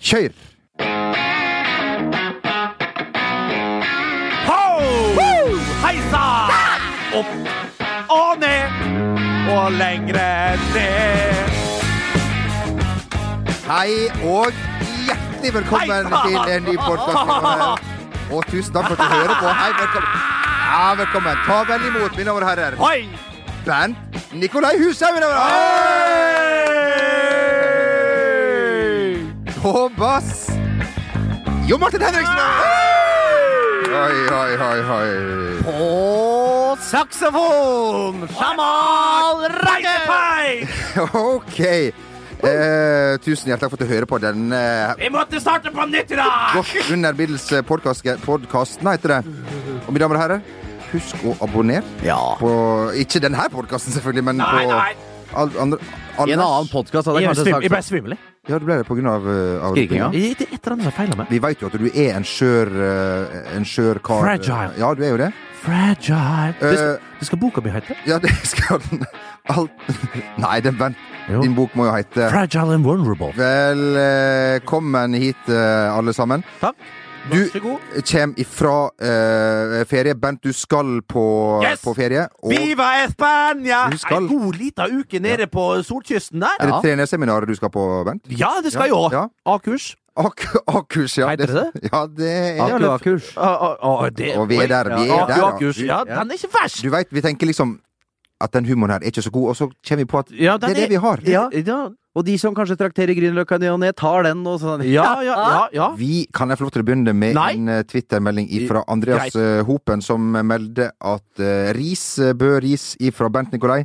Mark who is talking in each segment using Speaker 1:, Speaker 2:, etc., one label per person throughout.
Speaker 1: Kjør!
Speaker 2: Ho! Hei sann! Opp og ned og lengre ned.
Speaker 1: Hei og hjertelig velkommen
Speaker 2: Hei, faen!
Speaker 1: til en ny podkast. Og tusen takk for at du hører på. Hei, velkommen. Ja, velkommen. Ta vel imot, mine damer og herrer,
Speaker 2: Oi!
Speaker 1: band Nikolai Hushaug mine damer og herrer.
Speaker 2: Hey!
Speaker 1: på bass. Jo Martin Henriksen. Oi, oi, oi, oi.
Speaker 2: Og saksofon! Sjamal Reitefei!
Speaker 1: OK. Eh, tusen hjertelig takk for at du hører på denne
Speaker 2: Vi måtte starte på nytt i dag!
Speaker 1: godt under middels podkasten, heter det. Og mine damer og herrer, husk å abonnere
Speaker 3: Ja.
Speaker 1: på Ikke denne podkasten, selvfølgelig, men
Speaker 2: Nei,
Speaker 1: på
Speaker 2: nei.
Speaker 1: all, andre,
Speaker 3: I en annen podkast hadde jeg kanskje
Speaker 2: Jeg ble
Speaker 3: sagt
Speaker 2: svimmel.
Speaker 1: Ja, det ble det på grunn av, eh, av
Speaker 3: Skrikinga.
Speaker 2: Det er et eller annet som feiler meg.
Speaker 1: Vi veit jo at du er en skjør eh, En skjør kar.
Speaker 2: Fragile.
Speaker 1: Ja, du er jo det.
Speaker 2: Fragile. Du skal,
Speaker 1: Eh.
Speaker 2: du skal boka mi
Speaker 3: eh.
Speaker 2: hete
Speaker 1: Ja, det skal den alt Nei, den, vent.
Speaker 2: Jo.
Speaker 1: Din bok må jo hete
Speaker 2: Fragile and vulnerable.
Speaker 1: Velkommen hit, eh, alle sammen.
Speaker 2: Takk.
Speaker 1: Du
Speaker 2: Vær så god.
Speaker 1: kjem ifra eh, ferie. Bent, du skal på,
Speaker 2: Yes!
Speaker 1: på ferie. Og
Speaker 2: Viva Espania!
Speaker 1: Du skal-
Speaker 2: En god lita uke nede på solkysten der.
Speaker 1: er det
Speaker 3: Ja.
Speaker 1: trenerseminar du skal på, Bent?
Speaker 2: Ja, det skal
Speaker 1: Ja,
Speaker 2: jo
Speaker 1: ja.
Speaker 2: A-kurs.
Speaker 1: Ak Akurs, ja.
Speaker 2: Heter det
Speaker 1: Ja, det er
Speaker 2: Ja,
Speaker 3: Akakurs.
Speaker 2: A- a- a- det-
Speaker 1: Og vi er der. Vi er
Speaker 2: Ja,
Speaker 1: der,
Speaker 2: A-kurs. Ja, den er ikke verst.
Speaker 1: Du veit, vi tenker liksom at den humoren her er ikke så god, og så kommer vi på at
Speaker 2: Ja, den
Speaker 1: det er det vi har.
Speaker 2: Ja,
Speaker 3: Ja. Og de som kanskje trakterer Grünerløkka i ny og ne, tar den og sånn.
Speaker 2: ja, ja. ja, ja.
Speaker 1: Vi kan jeg få lov til å begynne med
Speaker 2: Nei.
Speaker 1: en eh, Twitter-melding fra Andreas
Speaker 2: Greit.
Speaker 1: eh, Hopen, som melder at eh, Ris, eh, Bø Ris fra Bernt Nikolai,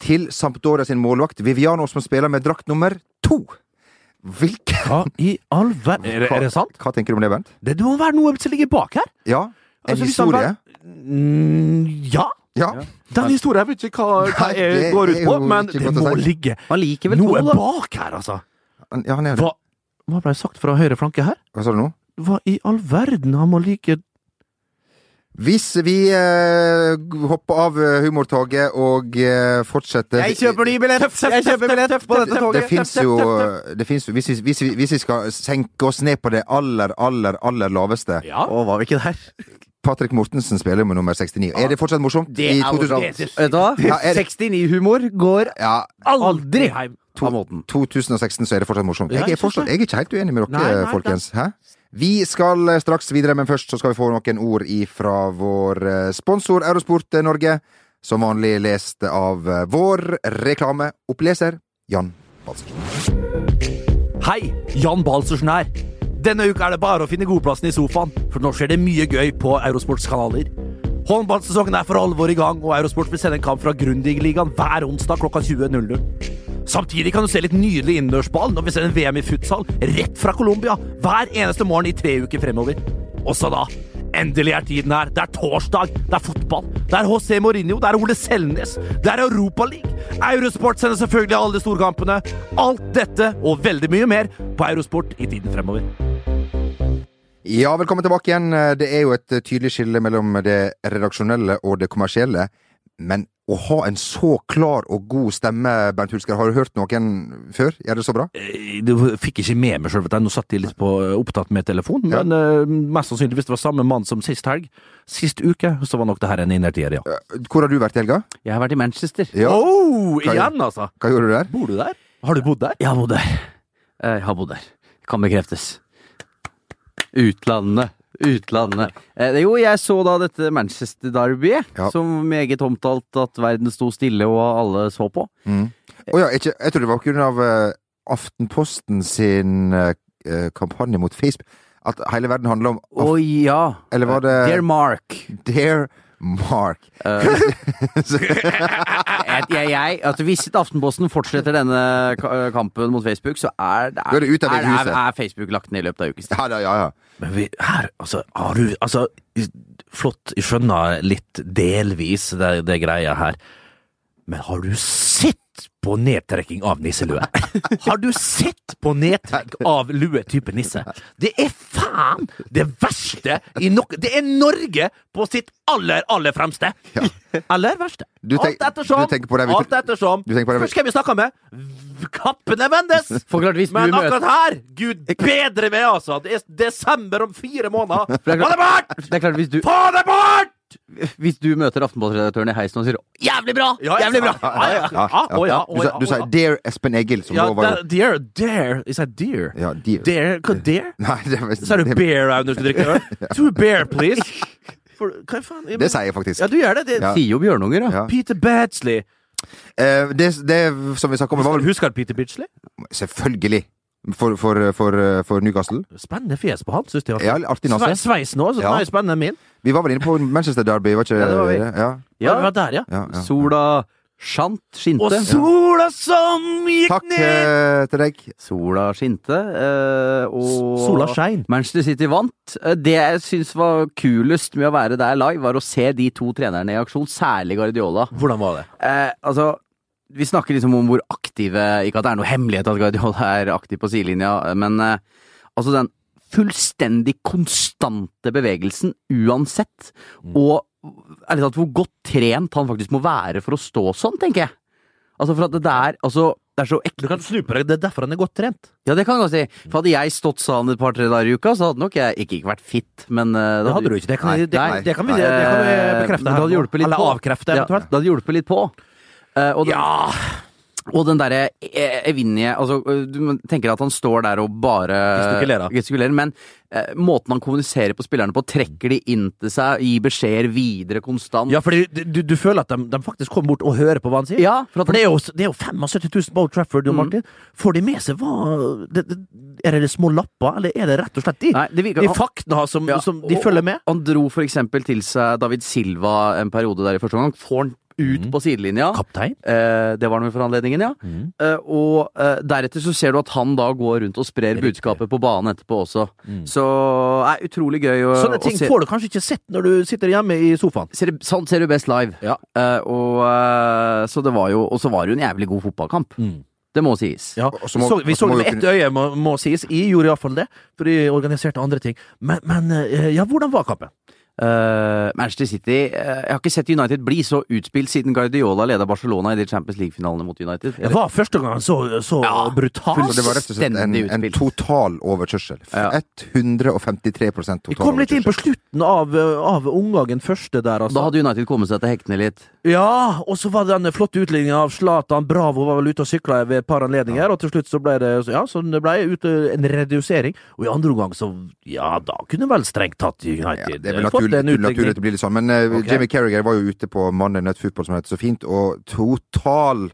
Speaker 1: til Sampdoria sin målvakt Viviano, som spiller med drakt nummer to. Hvilken
Speaker 2: Hva i all verden er, det- er det sant?
Speaker 1: Hva tenker du om det, Bent?
Speaker 2: Det må være noe som ligger bak her.
Speaker 1: Ja, en
Speaker 2: Altså, hvis han
Speaker 1: historie?
Speaker 2: var- Mm, ja.
Speaker 1: Ja.
Speaker 2: Den historien vet ikke hva, hva
Speaker 1: Nei,
Speaker 2: jeg
Speaker 1: det
Speaker 2: går
Speaker 1: er
Speaker 2: ut
Speaker 1: jo
Speaker 2: på, men
Speaker 1: ikke
Speaker 2: det
Speaker 1: godt å
Speaker 2: må
Speaker 1: si.
Speaker 2: ligge
Speaker 3: Man liker vel
Speaker 2: noe
Speaker 3: to, da.
Speaker 2: bak her, altså.
Speaker 1: Han- ja, han er det.
Speaker 2: Hva, hva ble sagt fra høyre flanke her?
Speaker 1: Hva sa du nå?
Speaker 2: Hva i all verden? Han må like
Speaker 1: Hvis vi eh, hopper av eh, humortoget og eh, fortsetter
Speaker 3: ny billett! Jeg kjøper billett på dette
Speaker 1: Det
Speaker 3: toget!
Speaker 1: fins jo, det finnes jo hvis, vi, hvis, vi, hvis vi skal senke oss ned på det aller, aller, aller laveste
Speaker 2: Ja.
Speaker 3: Å, var vi ikke der?
Speaker 1: Patrick Mortensen spiller jo med nummer 69. Er det fortsatt morsomt?
Speaker 3: Det
Speaker 1: I
Speaker 3: er
Speaker 1: 2000
Speaker 3: morsomt. Vet du
Speaker 1: Ja,
Speaker 3: hva?
Speaker 1: er det-
Speaker 3: 69-humor går
Speaker 1: Ja,
Speaker 3: aldri
Speaker 2: heim.
Speaker 3: av måten.
Speaker 1: 2016 så er det fortsatt morsomt.
Speaker 2: Ja,
Speaker 1: Jeg
Speaker 2: jeg
Speaker 1: er,
Speaker 2: synes
Speaker 1: fortsatt,
Speaker 2: det.
Speaker 1: jeg er ikke helt uenig med dere,
Speaker 2: Nei, nei,
Speaker 1: folkens. Hæ? Vi skal eh, straks videre, men først så skal vi få noen ord ifra vår eh, sponsor Eurosport eh, Norge. Som vanlig lest av eh, vår reklameoppleser Jan Balsersen.
Speaker 2: Hei, Jan Balsersen her. Denne uka er det bare å finne godplassen i sofaen, for nå skjer det mye gøy på Eurosports kanaler. Håndballsesongen er for alvor i gang, og Eurosport vil sende en kamp fra Grundigligaen hver onsdag klokka 20.00. Samtidig kan du se litt nydelig innendørsball når vi sender VM i futsal rett fra Colombia hver eneste morgen i tre uker fremover. Også da. Endelig er tiden her. Det er torsdag, det er fotball, det er HC Mourinho, det er Ole Selnes, det er Europaligaen. Eurosport sender selvfølgelig alle storkampene. Alt dette og veldig mye mer på Eurosport i tiden fremover.
Speaker 1: Ja, velkommen tilbake igjen. Eh, Det er jo et eh, tydelig skille mellom det redaksjonelle og det kommersielle. Men å ha en så klar og god stemme, Bernt Hulsker, har du hørt noen før? Gjør det så bra?
Speaker 2: Eh, Du fikk ikke med meg sjøl, vet du. Nå satt jeg litt på eh, opptatt med telefon,
Speaker 1: Ja.
Speaker 2: men eh, mest sannsynlig hvis det var samme mann som sist helg. Sist uke, så var nok det her en innertier, ja.
Speaker 1: Hvor har du vært i helga?
Speaker 3: Jeg har vært i Manchester.
Speaker 1: Ja,
Speaker 2: Oh,
Speaker 1: Hva
Speaker 2: igjen, altså!
Speaker 1: Hva gjorde du der?
Speaker 2: Bor du der? Har du bodd der?
Speaker 3: Jeg har bodd der. Jeg har bodd der. Kan bekreftes. Utlandet. Utlandet. Eh, jo, jeg så da dette Manchester Derbyet,
Speaker 1: Ja.
Speaker 3: som meget omtalt at verden sto stille og alle så på.
Speaker 1: Å ja, ikke, jeg tror det var på grunn av eh, Aftenposten sin eh, eh, kampanje mot Facebook. At hele verden handler om
Speaker 3: Å
Speaker 1: Af Eh.
Speaker 3: ja!
Speaker 1: Eller var det-
Speaker 2: eh,
Speaker 3: Dear Mark.
Speaker 1: Dear Mark.
Speaker 2: Eh.
Speaker 3: Jeg, jeg, jeg, at hvis ikke Aftenposten fortsetter denne ka- eh, kampen mot Facebook, så er, det-
Speaker 1: Da er det ut av det
Speaker 3: er, er,
Speaker 1: huset.
Speaker 3: er Facebook lagt ned i løpet av ukes tid.
Speaker 1: Ja, da, ja, ja.
Speaker 2: Men vi, her, altså, har du Altså, i- flott, jeg skjønner litt delvis det, det greia her, men har du sett på nedtrekking av nisselue? Har du sett på nedtrekk av lue type nisse? Det er faen faen det verste i nok... Det er Norge på sitt aller, aller fremste. Eller verste.
Speaker 1: Du tenk-
Speaker 2: alt ettersom.
Speaker 1: du tenker på det vi-
Speaker 2: alt ettersom.
Speaker 1: Du tenker på det vi-
Speaker 2: Først hvem vi snakka med. Kappene vendes!
Speaker 3: For klart, hvis du
Speaker 2: Men
Speaker 3: møter
Speaker 2: akkurat her, gud bedre meg, altså. Det er desember om fire måneder.
Speaker 3: det er
Speaker 2: Få det bort!
Speaker 3: Det er klart, hvis du,
Speaker 2: Få det bort!
Speaker 3: hvis du møter Aftenposten-redaktøren i heisen og sier 'jævlig bra',
Speaker 2: Ja,
Speaker 3: jævlig bra
Speaker 2: Ah, Ja, ja, ja.
Speaker 1: Ja,
Speaker 2: Å, ja, å,
Speaker 1: Du sa,
Speaker 2: ja,
Speaker 1: du
Speaker 2: å,
Speaker 1: sa
Speaker 2: ja.
Speaker 1: Dear Espen Egil, som
Speaker 2: Ja,
Speaker 1: da var jo
Speaker 2: da- dear, dear. Is that dear?
Speaker 1: Ja, dear.
Speaker 2: Dear? Hva dear?
Speaker 1: Nei, det, var-
Speaker 2: Så er du
Speaker 1: det,
Speaker 2: bear Aune, når du drikker øl. To bear, please. For, hva faen? Ja, men-
Speaker 1: det sier jeg faktisk.
Speaker 2: Ja, du gjør det. det
Speaker 1: Ja.
Speaker 3: Sier jo Bjørnunger, da.
Speaker 1: Ja.
Speaker 2: Peter Batsley.
Speaker 1: Eh, det, det som vi snakka om, var vel
Speaker 2: Husker du Peter Bitchley?
Speaker 1: Selvfølgelig! For, for, for, for Newcastle.
Speaker 2: Spennende fjes på han, syns jeg.
Speaker 1: Ja, artig
Speaker 2: Sve,
Speaker 1: nase.
Speaker 2: sveis nå, så
Speaker 1: Ja.
Speaker 2: den er spennende enn min.
Speaker 1: Vi var vel inne på Manchester Derby, var ikke
Speaker 2: Ja, det var vi.
Speaker 1: Ja,
Speaker 2: Ja, det var der, ja.
Speaker 1: ja, ja.
Speaker 3: Sola skjant,
Speaker 2: Og
Speaker 3: skinte.
Speaker 2: sola som gikk
Speaker 1: Takk
Speaker 2: ned
Speaker 1: eh, til deg.
Speaker 3: Sola skinte, eh, og
Speaker 2: Sola skein.
Speaker 3: Manchester City vant. Eh, Det jeg syns var kulest med å være der live, var å se de to trenerne i aksjon, særlig Guardiola.
Speaker 2: Hvordan var det?
Speaker 3: Eh, altså, vi snakker liksom om hvor aktive Ikke at det er noe hemmelighet at Guardiola er aktiv på sidelinja, eh, men eh, altså den fullstendig konstante bevegelsen uansett,
Speaker 2: Mm.
Speaker 3: og ærlig talt hvor godt trent han faktisk må være for å stå sånn, tenker jeg. Altså, for at det der Altså, det er så ekte
Speaker 2: Du kan snu på deg, det er derfor han er godt trent.
Speaker 3: Ja, det kan jeg godt si. For hadde jeg stått sånn et par-tre dager i uka, så hadde nok jeg ikke, ikke vært fit, men eh,
Speaker 2: Det hadde du ikke. Det kan,
Speaker 3: Nei,
Speaker 2: det,
Speaker 3: nei.
Speaker 2: det, kan vi,
Speaker 3: Nei.
Speaker 2: det, kan vi
Speaker 3: Eh,
Speaker 2: bekrefte
Speaker 3: men
Speaker 2: her.
Speaker 3: det hadde
Speaker 2: nå.
Speaker 3: hjulpet litt
Speaker 2: Eller
Speaker 3: på.
Speaker 2: avkrefte,
Speaker 3: Ja,
Speaker 2: eventuelt.
Speaker 3: det hadde hjulpet litt på. Eh, og, den,
Speaker 2: Ja!
Speaker 3: og den derre eh, evinnelige Altså, eh, du tenker at han står der og bare
Speaker 2: Gestikulerer.
Speaker 3: gestikulerer, men eh, måten han kommuniserer på spillerne på, trekker de inn til seg, gir beskjeder videre konstant.
Speaker 2: Ja, fordi du, du føler at de, de faktisk kommer bort og hører på hva han sier.
Speaker 3: Ja, for at
Speaker 2: For det er jo, det er jo 75 000 på Old Trafford, jo, Martin. Får de med seg hva det, det, Er det de små lapper, eller er det rett og slett de,
Speaker 3: Nei, det virker,
Speaker 2: de faktene som,
Speaker 3: Ja,
Speaker 2: som de
Speaker 3: og-
Speaker 2: følger med?
Speaker 3: Han dro for eksempel til seg David Silva en periode der i første omgang. Får han ut
Speaker 2: Mhm.
Speaker 3: på sidelinja.
Speaker 2: Kaptein?
Speaker 3: Eh, det var noe for anledningen, ja.
Speaker 2: Mhm.
Speaker 3: Eh, og eh, deretter så ser du at han da går rundt og sprer budskapet på banen etterpå også. Så det er utrolig gøy å,
Speaker 2: Mm. Sånne ting
Speaker 3: å se.
Speaker 2: får du kanskje ikke sett når du sitter hjemme i sofaen.
Speaker 3: Ser, du- sånn ser du best live.
Speaker 2: Ja.
Speaker 3: Eh, og, eh, så det var jo, og så var det jo en jævlig god fotballkamp. Det må sies.
Speaker 2: Ja.
Speaker 1: Og så
Speaker 2: Så
Speaker 1: må-
Speaker 2: vi
Speaker 1: og så
Speaker 2: så
Speaker 1: må
Speaker 2: det med
Speaker 1: vi
Speaker 2: ett øye, må, må sies. Jeg gjorde iallfall det, for de organiserte andre ting. Men, men eh, ja, hvordan var kampen?
Speaker 3: Eh, Manchester City eh, Jeg har ikke sett United bli så utspilt siden Guardiola leda Barcelona i de Champions League-finalene mot United.
Speaker 2: Det var første gangen så, så
Speaker 3: Ja,
Speaker 2: brutal.
Speaker 1: Så det var rett og slett en,
Speaker 3: Fullstendig
Speaker 1: en
Speaker 3: utspilt.
Speaker 1: total overkjørsel.
Speaker 3: Ja.
Speaker 1: 153 total
Speaker 2: Vi kom litt inn på slutten av, eh, av omgangen første der, altså.
Speaker 3: Da hadde United kommet seg til hektene litt.
Speaker 2: Ja, og så var det den flotte utligninga av Zlatan. Bravo var vel ute og sykla ved et par anledninger, og til slutt så ble det ja, så det ble ute en redusering. Og i andre omgang så Ja, da kunne vel strengt tatt
Speaker 1: Ja,
Speaker 2: United
Speaker 1: det er vel
Speaker 2: eh, fått
Speaker 1: naturlig,
Speaker 2: en
Speaker 1: naturlig
Speaker 2: utligning.
Speaker 1: at det blir litt sånn. Men eh,
Speaker 2: Ok.
Speaker 1: Jamie Carriger var jo ute på Monday Night Football, som heter så fint, og total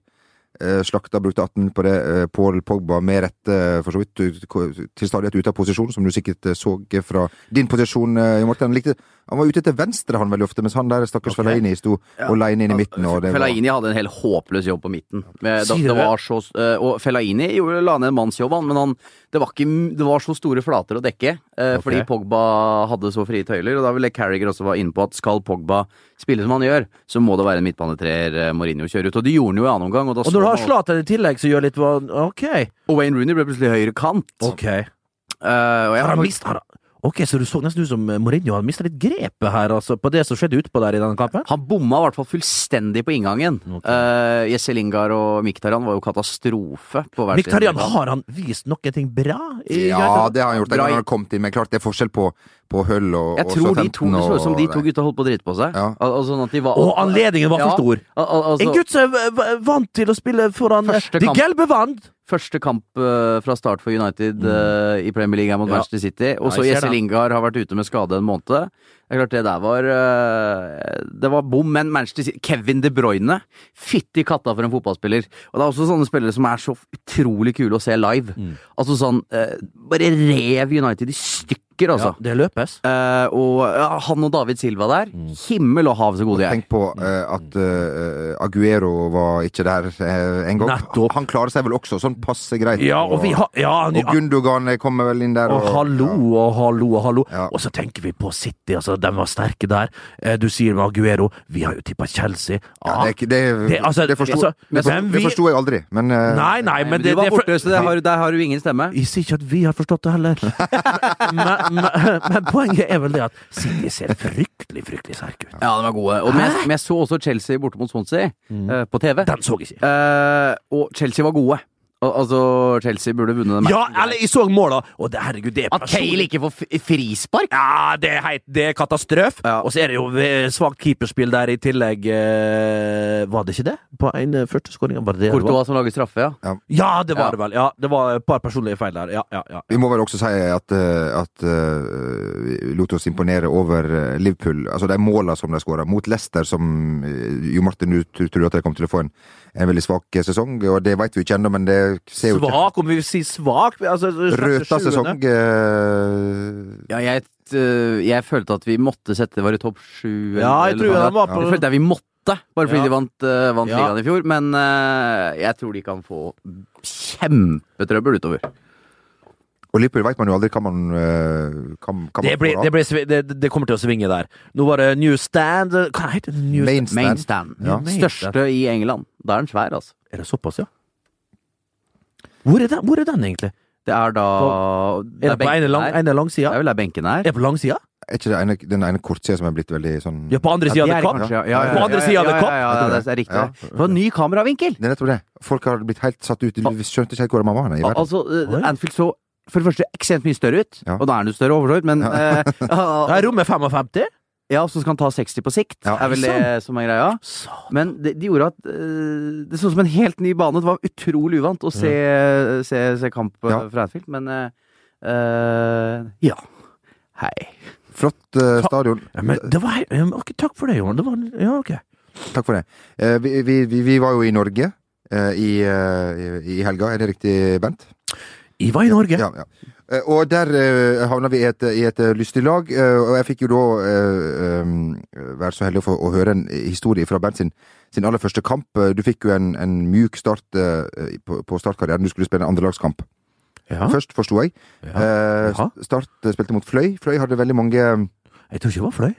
Speaker 1: eh, slakta brukte 18 på det. Eh, Paul Pogba med rette, eh, for så vidt, ut- ko- til stadighet ute av posisjon, som du sikkert eh, så fra din posisjon, eh, Jo Martin. Han, likte, han var ute til venstre, han veldig ofte, mens han der stakkars
Speaker 2: Ok.
Speaker 1: Fellaini sto aleine inn i midten. Og det var,
Speaker 3: Fellaini hadde en helt håpløs jobb på midten. Men
Speaker 2: Sier
Speaker 3: Det, det
Speaker 2: dere?
Speaker 3: var så, eh, og Fellaini gjorde, la ned en mannsjobb, han, men han, det, var ikke, det var så store flater å dekke. eh,
Speaker 2: Ok.
Speaker 3: Fordi Pogba hadde så frie tøyler. Og da ville Carriger også være inne på at skal Pogba spille som han gjør, så må det være en midtbanetreer eh, Mourinho kjører ut. Og det gjorde han jo i annen omgang. Og, da
Speaker 2: Og
Speaker 3: så
Speaker 2: når du har
Speaker 3: han-
Speaker 2: Zlatan i tillegg, så gjør litt hva Ok.
Speaker 3: og Wayne Rooney ble plutselig høyre kant.
Speaker 1: Sånn.
Speaker 2: Ok,
Speaker 3: Eh, og jeg,
Speaker 2: har han mist, har han, ok, Så du så nesten ut som eh, Mourinho hadde mista litt grepet her, altså, på det som skjedde utpå der i denne kampen?
Speaker 3: Han bomma i hvert fall fullstendig på inngangen.
Speaker 2: Ok.
Speaker 3: Eh, Jesse Lingard og Miktarian var jo katastrofe på hver sin
Speaker 2: Miktarian,
Speaker 3: ball.
Speaker 2: har han vist noen ting bra? i
Speaker 1: ja,
Speaker 2: United?
Speaker 1: det har han gjort. Det
Speaker 3: Bra-
Speaker 1: har han kommet inn, men klart det er forskjell på, på Hull og
Speaker 3: Jeg tror de to, det så ut som de to gutta holdt på å drite på seg.
Speaker 1: Ja.
Speaker 3: Al al sånn at de var,
Speaker 2: Og anledningen var for
Speaker 3: Ja,
Speaker 2: stor.
Speaker 3: al al altså,
Speaker 2: En gutt som er v- v- vant til å spille foran eh,
Speaker 3: Første
Speaker 2: De
Speaker 3: kamp.
Speaker 2: Gelbe vant!
Speaker 3: Første kamp eh, fra start for United eh, i Premier League er mot
Speaker 2: Mm. Ja.
Speaker 3: Manchester City. Og
Speaker 2: Ja, jeg
Speaker 3: så
Speaker 2: ser
Speaker 3: Jesse
Speaker 2: det.
Speaker 3: Lingard har vært ute med skade en måned. Det er klart det der var eh, Det var bom, men Manchester City Kevin De Bruyne! Fytti katta for en fotballspiller. Og det er også sånne spillere som er så utrolig kule å se live.
Speaker 2: Mm.
Speaker 3: Altså sånn eh, Bare rev United i stykker, altså.
Speaker 2: Ja, det løpes.
Speaker 3: Eh, og ja, han og David Silva der,
Speaker 2: Mm.
Speaker 3: himmel og hav så gode de er.
Speaker 1: Tenk på eh, at eh, Aguero var ikke der eh, en gang.
Speaker 2: Nettopp.
Speaker 1: Han klarer seg vel også sånn passe greit.
Speaker 2: Ja, og vi har ja, han,
Speaker 1: og Gundogan eh, kommer vel inn der.
Speaker 2: og hallo og hallo og hallo.
Speaker 1: Ja.
Speaker 2: Og så tenker vi på City, altså. De var sterke der. Eh, Du sier med Aguero Vi har jo tippa Chelsea.
Speaker 1: Ja,
Speaker 2: Ah,
Speaker 1: det, er ikke- det,
Speaker 2: Det- altså,
Speaker 1: det forsto
Speaker 2: altså,
Speaker 1: det forsto-
Speaker 2: men
Speaker 1: det
Speaker 2: vi-
Speaker 1: forsto jeg aldri, men eh,
Speaker 2: Nei, nei, men
Speaker 3: du
Speaker 2: det,
Speaker 3: var
Speaker 2: det er for-
Speaker 3: borte, så det har, der har du ingen stemme.
Speaker 2: Jeg sier ikke at vi har forstått det heller. men, men, men poenget er vel det at City ser fryktelig, fryktelig sterke ut.
Speaker 3: Ja, de var gode. Og, men, jeg, men jeg så også Chelsea borte mot Swansea eh, på TV.
Speaker 2: Den så jeg ikke.
Speaker 3: Eh, og Chelsea var gode. Al altså, Chelsea burde vunnet den
Speaker 2: Ja, eller jeg så måla, og det, herregud, det er
Speaker 3: At Kale
Speaker 2: personlig.
Speaker 3: ikke får f- frispark?
Speaker 2: Ja, det er, heit, det er katastrof.
Speaker 3: Ja.
Speaker 2: Og så er det jo eh, svakt keeperspill der i tillegg. eh, var det ikke det? På en eh, første skåring? Var det det det var?
Speaker 3: Courtois som lager straffe, ja.
Speaker 2: Ja, det var
Speaker 3: Ja.
Speaker 2: det vel. Ja, det var et par personlige feil der. Ja, ja, ja.
Speaker 1: Vi må vel også si at, eh, at eh, vi lot oss imponere over eh, Liverpool. Altså de måla som de skåra mot Leicester, som eh, jo Martin du tr- tror at de kommer til å få en, en veldig svak eh, sesong. Og det vet vi ikke ennå, men det ser jo ikke
Speaker 2: Svak, om vi sier svak altså,
Speaker 1: Røta
Speaker 2: sjuende.
Speaker 1: sesong. eh,
Speaker 3: ja jeg, eh, jeg følte at vi måtte sette det var i topp sju.
Speaker 2: Ja, jeg
Speaker 3: eller
Speaker 2: tror
Speaker 3: noe
Speaker 2: den
Speaker 3: sånt.
Speaker 2: var
Speaker 3: Jeg
Speaker 2: på
Speaker 3: følte jeg vi måtte, bare fordi
Speaker 2: Ja.
Speaker 3: de vant, eh, vant
Speaker 2: Ja.
Speaker 3: ligaen i fjor. Men eh, jeg tror de kan få kjempetrøbbel utover.
Speaker 1: og Liverpool vet man jo aldri hva man, eh, hva, hva
Speaker 2: Det,
Speaker 1: man
Speaker 2: blir, det, blir, svi- det, det kommer til å svinge der. Nå var det New Stand Hva heter det? New
Speaker 1: Mainstand.
Speaker 3: Mainstand.
Speaker 1: Ja.
Speaker 3: Største i England. Da er den svær, altså.
Speaker 2: Er det såpass, ja? Hvor er den, hvor er den egentlig?
Speaker 3: Det er da
Speaker 2: Er det på
Speaker 3: benken
Speaker 2: ene, lang,
Speaker 3: her.
Speaker 2: ene
Speaker 3: Det
Speaker 2: langsida?
Speaker 3: er vel der benken
Speaker 2: Er
Speaker 3: er.
Speaker 2: det på langsida?
Speaker 1: Er ikke det ene, den ene kortsida som er blitt veldig sånn
Speaker 2: Ja, på andre
Speaker 3: Ja,
Speaker 2: sida av
Speaker 3: det er det
Speaker 2: The Cup?
Speaker 3: kanskje, ja, ja, ja,
Speaker 2: På andre
Speaker 3: ja,
Speaker 2: siden av
Speaker 3: ja,
Speaker 2: The Cup?
Speaker 3: Ja, ja, ja, det er riktig.
Speaker 1: Ja.
Speaker 3: Det var en ny kameravinkel!
Speaker 1: Det er nettopp det. Folk har blitt helt satt ut. Vi skjønte ikke helt hvor mamma er i
Speaker 3: Al-
Speaker 1: verden.
Speaker 3: Altså, eh,
Speaker 2: Oi.
Speaker 3: Anfield så for det første ekstremt mye større ut,
Speaker 1: Ja.
Speaker 3: og da er den jo større overfor, men eh,
Speaker 2: Det er rommet 55?
Speaker 3: Ja, så skal han ta 60 på sikt,
Speaker 1: Ja.
Speaker 3: er vel
Speaker 2: Sånn.
Speaker 3: det som er greia.
Speaker 2: Sa-
Speaker 3: Men det, de gjorde at eh, det så ut som en helt ny bane. Det var utrolig uvant å se,
Speaker 2: Mm.
Speaker 3: se, se kamp eh,
Speaker 1: Ja.
Speaker 3: fra Anfield, men eh, eh, Ja. Hei.
Speaker 1: Flott eh, stadion.
Speaker 2: Ja, men det var helt ja, men ok, Takk for det, Johan. Det var, ja, ok.
Speaker 1: Takk for det. Eh, vi, vi, vi, vi var jo i Norge eh, i, eh, i helga, er det riktig, Bent?
Speaker 2: Jeg var i Norge.
Speaker 1: Ja, ja. Eh, og der eh, havna vi i et, i et eh, lystig lag, eh, og jeg fikk jo da eh, em, være så heldig å få å høre en historie fra Bent sin, sin aller første kamp. Eh, Du fikk jo en, en mjuk start eh, på, på startkarrieren. Du skulle spille en andrelagskamp.
Speaker 2: Ja.
Speaker 1: Først, forsto jeg. Eh,
Speaker 2: Jaha.
Speaker 1: start eh, spilte mot Fløy. Fløy hadde veldig mange eh,
Speaker 2: Jeg tror ikke det var fløy.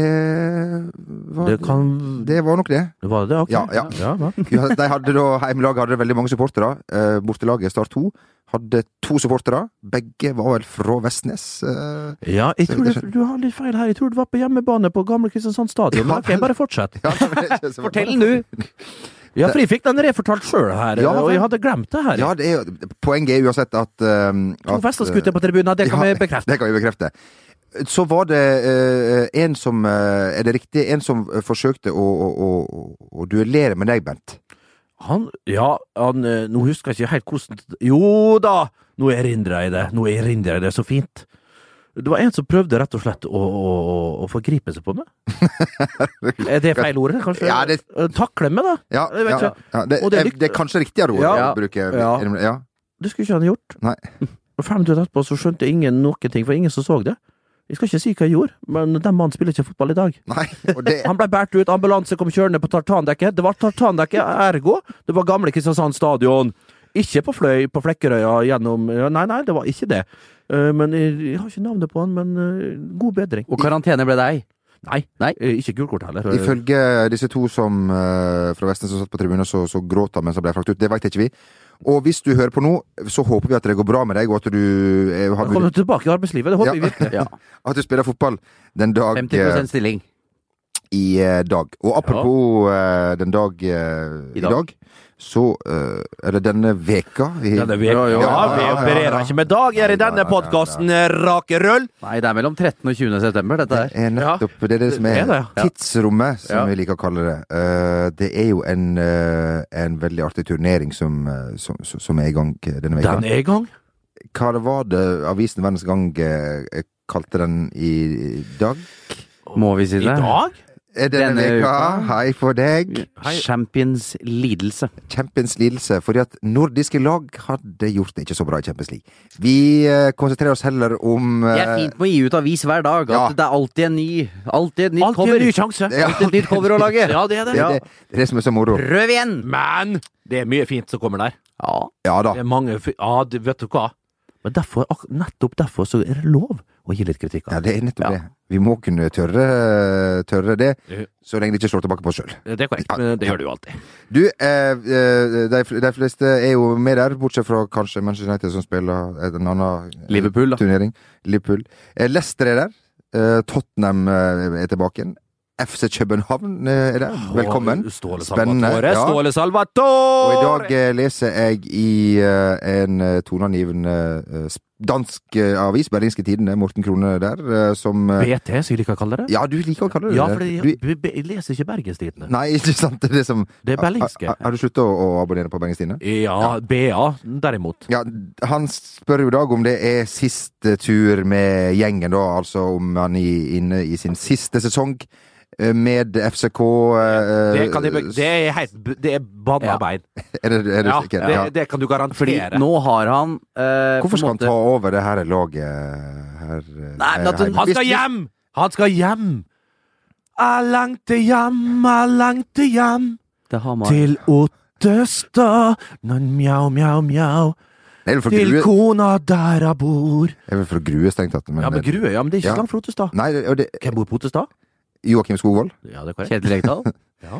Speaker 1: Det var,
Speaker 2: Det
Speaker 1: det
Speaker 2: kan
Speaker 1: var nok det.
Speaker 2: Det var det, ok.
Speaker 1: Ja, ja.
Speaker 2: hva?
Speaker 1: Ja, de hadde da, Hjemmelaget hadde veldig mange supportere. Eh, bortelaget Start 2 hadde to supportere. Begge var vel fra Vestnes. Eh,
Speaker 2: Ja, jeg tror det, du har litt feil her. Jeg tror det var på hjemmebane på gamle Kristiansand stadion. Men
Speaker 1: Ja,
Speaker 2: ok, bare fortsett.
Speaker 1: ja, det var ikke så-
Speaker 3: Fortell den, du!
Speaker 2: Ja, for jeg fikk den refortalt sjøl her,
Speaker 1: Ja,
Speaker 2: og
Speaker 1: vel.
Speaker 2: jeg hadde glemt det her.
Speaker 1: Ja, det er, jo- poenget er uansett at, um,
Speaker 2: To Vestlandsgutter på tribunen, det kan
Speaker 1: Ja,
Speaker 2: vi bekrefte.
Speaker 1: Det kan vi bekrefte. Så var det eh, en som eh, Er det riktig? En som eh, forsøkte å, å, å, å duellere med deg, Bent.
Speaker 2: Han Ja, han eh, Nå husker jeg ikke helt hvordan Jo da! Nå erindrer jeg det. Nå erindrer jeg det så fint. Det var en som prøvde rett og slett å, å, å- å forgripe seg på meg. Er det feil ord, kanskje?
Speaker 1: Ja, det-
Speaker 2: Eh, Takle meg, da.
Speaker 1: Ja,
Speaker 2: Jeg vet
Speaker 1: ja,
Speaker 2: ikke.
Speaker 1: ja det,
Speaker 2: Og det er
Speaker 1: eh,
Speaker 2: likt-
Speaker 1: det er kanskje riktigere ord
Speaker 2: Ja.
Speaker 1: å bruke.
Speaker 2: Ja.
Speaker 1: Ja.
Speaker 2: Det skulle ikke han gjort.
Speaker 1: Nei.
Speaker 2: Og fem minutter etterpå så skjønte ingen noen ting, for ingen som så det. Jeg skal ikke si hva jeg gjorde, men den mannen spiller ikke fotball i dag.
Speaker 1: Nei, og det
Speaker 2: Han ble båret ut, ambulanse kom kjørende på tartandekket. Det var tartandekket, ergo det var gamle Kristiansand stadion. Ikke på Fløy, på Flekkerøya, gjennom ja, Nei, nei, det var ikke det. Eh, men jeg, jeg har ikke navnet på han, men eh, god bedring.
Speaker 3: Og karantene ble deg.
Speaker 2: Nei,
Speaker 3: Nei.
Speaker 2: eh, ikke gult kort heller.
Speaker 1: Ifølge disse to som, eh, fra Vestnes som satt på tribunen, så, så gråt han mens han ble frakt ut. Det veit ikke vi. Og hvis du hører på nå, så håper vi at det går bra med deg, og at du, eh, har,
Speaker 2: Han kom jo tilbake i arbeidslivet, det håper jeg
Speaker 1: Ja.
Speaker 2: virkelig.
Speaker 3: Ja.
Speaker 1: at du spiller fotball den dag eh,
Speaker 3: 50 stilling.
Speaker 1: i eh, dag. Og apropos eh, den dag eh, i,
Speaker 3: I
Speaker 1: dag.
Speaker 3: dag.
Speaker 1: så eh, Eller denne veka i,
Speaker 2: Ja, det vet-
Speaker 3: Ja,
Speaker 2: ja,
Speaker 3: ja, ja,
Speaker 2: vi
Speaker 1: ja, ja.
Speaker 2: opererer ikke med dager i denne podkasten, rake røll!
Speaker 3: Nei, det er mellom 13. og 20. september, dette her.
Speaker 1: Det er nettopp det, er det som er,
Speaker 2: Det er det,
Speaker 3: ja.
Speaker 1: tidsrommet, som
Speaker 3: Ja.
Speaker 1: vi liker å kalle det. Eh, det er jo en, eh, en veldig artig turnering som, eh, som, som er i gang eh, denne veka.
Speaker 2: Den er i gang.
Speaker 1: Hva det var det avisen Verdens Gang eh, kalte den i dag?
Speaker 3: Må vi si
Speaker 2: I
Speaker 3: det?
Speaker 2: dag?
Speaker 1: Er denne,
Speaker 3: Denne
Speaker 1: veka,
Speaker 3: uka.
Speaker 1: hei for deg,
Speaker 2: Hei.
Speaker 3: Champions lidelse.
Speaker 1: Champions lidelse. Fordi at nordiske lag hadde gjort det ikke så bra i Champions League. Vi eh, konsentrerer oss heller om
Speaker 3: Det er
Speaker 1: eh,
Speaker 3: fint med å gi ut avis hver dag. At
Speaker 1: Ja.
Speaker 3: det er alltid en ny Alltid et nytt
Speaker 2: Alltid
Speaker 3: cover.
Speaker 2: en ny sjanse.
Speaker 1: Ja,
Speaker 3: Alltid et nytt cover å lage.
Speaker 2: Ja, det er det.
Speaker 1: det, er det, det er det som er så moro.
Speaker 3: Prøv igjen!
Speaker 2: Men det er mye fint som kommer der.
Speaker 3: Ja.
Speaker 1: Ja da.
Speaker 2: Det er mange fi- Ja, det- vet du hva? Men derfor, ak- nettopp derfor så er det lov å gi litt kritikk.
Speaker 1: Ja,
Speaker 2: av.
Speaker 1: det er nettopp
Speaker 3: Ja.
Speaker 1: det. Vi må kunne tørre, tørre det,
Speaker 2: Ja.
Speaker 1: så lenge det ikke slår tilbake på oss sjøl.
Speaker 2: Det er korrekt, men det gjør det jo alltid.
Speaker 1: Du, eh, eh, de, fl- de fleste er jo med der, bortsett fra kanskje Manchester United, som spiller et- en annen eh,
Speaker 3: Liverpool, da.
Speaker 1: turnering. Liverpool. Eh, Leicester er der. Eh, Tottenham eh, er tilbake igjen. FC København eh, er der. Velkommen.
Speaker 2: Å, Ståle
Speaker 1: Spennende,
Speaker 2: Salvatore.
Speaker 1: ja.
Speaker 2: Ståle
Speaker 1: Og i
Speaker 2: Salvatore!
Speaker 1: dag eh, leser jeg i eh, en eh, toneangivende eh, sp- dansk eh, avis, Berlingske Tidende, Morten Krone der, eh, som eh,
Speaker 2: BT, som jeg liker å kalle det.
Speaker 1: Ja, du liker å kalle det
Speaker 2: Ja,
Speaker 1: det.
Speaker 2: for
Speaker 1: Du,
Speaker 2: jeg, jeg leser ikke Bergenstidene.
Speaker 1: nei, ikke sant? Det er det som
Speaker 2: Det er berlingske.
Speaker 1: Har- Har har du slutta å, å abonnere på Berlingske Tidende?
Speaker 2: Ja, BA, derimot.
Speaker 1: Ja, han spør jo i dag om det er siste tur med gjengen, da. Altså om han er inne i sin siste sesong eh, med FCK. eh,
Speaker 2: Det, kan jeg, be- det er helt b- Det er banna
Speaker 3: Ja.
Speaker 2: bein.
Speaker 1: Er det, er det
Speaker 2: Ja,
Speaker 1: sikkert?
Speaker 2: det,
Speaker 1: Ja.
Speaker 2: det kan du
Speaker 3: Fordi
Speaker 2: garantere.
Speaker 3: nå har han eh, på
Speaker 1: Hvorfor
Speaker 3: en
Speaker 1: skal han
Speaker 3: måte-
Speaker 1: ta over det her laget her? eh,
Speaker 3: Nei, men at
Speaker 1: her-
Speaker 3: hun-
Speaker 2: Han skal hjem! Han skal hjem! Jeg langter hjem, jeg langter hjem
Speaker 3: til Hamar?
Speaker 2: til Ottestad. Nan, mjau, mjau, mjau.
Speaker 1: Jeg vil fra
Speaker 2: Til
Speaker 1: Grue,
Speaker 2: kona der jeg bor.
Speaker 1: jeg vil fra grue strengt tatt. Men,
Speaker 2: Ja, men Grue, ja, men det er ikke
Speaker 1: Ja.
Speaker 2: så langt fra Ottestad.
Speaker 1: Nei, det- og det,
Speaker 2: Hvem bor på Ottestad?
Speaker 1: Joakim Skogvold.
Speaker 2: Ja, det er korrekt.
Speaker 3: Kjetil Rekdal?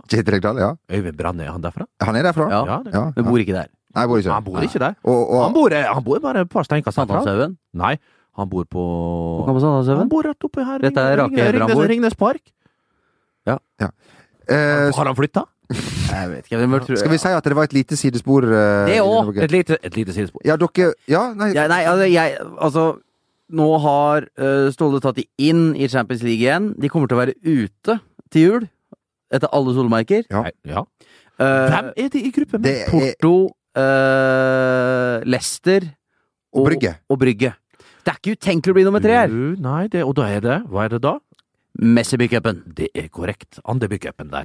Speaker 1: Kjetil Rekdal, ja.
Speaker 2: Øyvind Branne, er han derfra?
Speaker 1: Han er derfra?
Speaker 3: Ja.
Speaker 2: det er-
Speaker 1: ja.
Speaker 3: Men
Speaker 1: ja.
Speaker 3: bor ikke der.
Speaker 1: Nei, bor ikke
Speaker 2: Han bor ikke der.
Speaker 1: Og, og,
Speaker 2: Han bor, eh, han bor bare et par steinkast herfra.
Speaker 3: Sandalshaugen?
Speaker 2: Nei, han bor på
Speaker 3: Hvor kan man Sandalshaugen?
Speaker 2: Han bor rett oppe her.
Speaker 3: Dette er
Speaker 2: Ringnes-
Speaker 3: Rake Hever han
Speaker 2: Ringnes-
Speaker 3: bor.
Speaker 2: Ringnes Park.
Speaker 1: eh,
Speaker 2: Har han flytta?
Speaker 3: Jeg vet ikke. hvem tror jeg-
Speaker 1: skal vi si at det var et lite sidespor? eh,
Speaker 3: Det òg.
Speaker 1: i denne boken?
Speaker 2: Et lite, et lite sidespor.
Speaker 1: Ja, dere Ja, nei,
Speaker 3: Ja, nei, altså, jeg, altså Nå har eh, Ståle tatt de inn i Champions League igjen. De kommer til å være ute til jul, etter alle solmerker.
Speaker 1: Ja.
Speaker 2: Nei, ja.
Speaker 3: Eh,
Speaker 2: Hvem er det i gruppe med?
Speaker 1: det er
Speaker 3: Porto, eh, Leicester
Speaker 1: Og Brygge.
Speaker 3: og Brygge. Det er ikke utenkelig å bli nummer tre her.
Speaker 2: Du, Nei, det, og da er det Hva er det da?
Speaker 3: Messi-bycupen.
Speaker 2: Det er korrekt. Andeby-cupen der.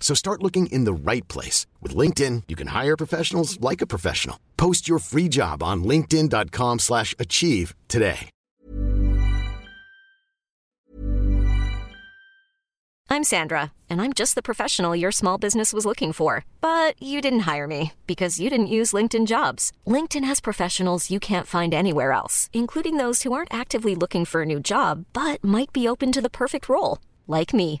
Speaker 4: So start looking in the right place. With LinkedIn, you can hire professionals like a professional. Post your free job on linkedin.com/achieve slash achieve today.
Speaker 5: I'm Sandra, and I'm just the professional your small business was looking for. But you didn't hire me because you didn't use LinkedIn jobs. LinkedIn has professionals you can't find anywhere else, including those who aren't actively looking for a new job but might be open to the perfect role, like me.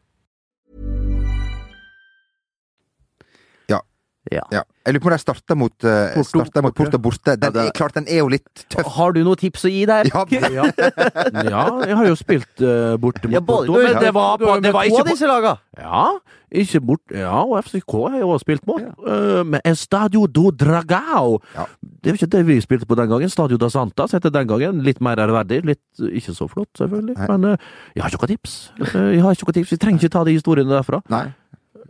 Speaker 3: Ja.
Speaker 1: Ja. Jeg lurer på om de starter mot, eh,
Speaker 3: Porto
Speaker 1: starter mot Porto borte. Den
Speaker 3: Ja, det-
Speaker 1: er klart, den er jo litt tøff.
Speaker 3: Har du noe tips å gi der?
Speaker 1: Ja,
Speaker 2: Ja. ja, jeg har jo spilt uh, borte mot
Speaker 3: Ja, både-
Speaker 2: Porto, men det var,
Speaker 3: Du har
Speaker 2: på-
Speaker 3: jo
Speaker 2: det var
Speaker 3: møtt to
Speaker 2: ikke
Speaker 3: av disse laga.
Speaker 2: på- Ja, ikke bort, ja, og FCK har jeg også spilt mot. Eh, med Estadio do Dragao.
Speaker 1: Ja.
Speaker 2: Det var ikke det vi spilte på den gangen. Stadio da Santas heter den gangen. Litt mer ærverdig. Litt eh, ikke så flott, selvfølgelig.
Speaker 1: Nei.
Speaker 2: Men eh, jeg har ikke noe tips. Eh, jeg har ikke noe tips. Vi trenger ikke ta de historiene derfra.
Speaker 1: Nei.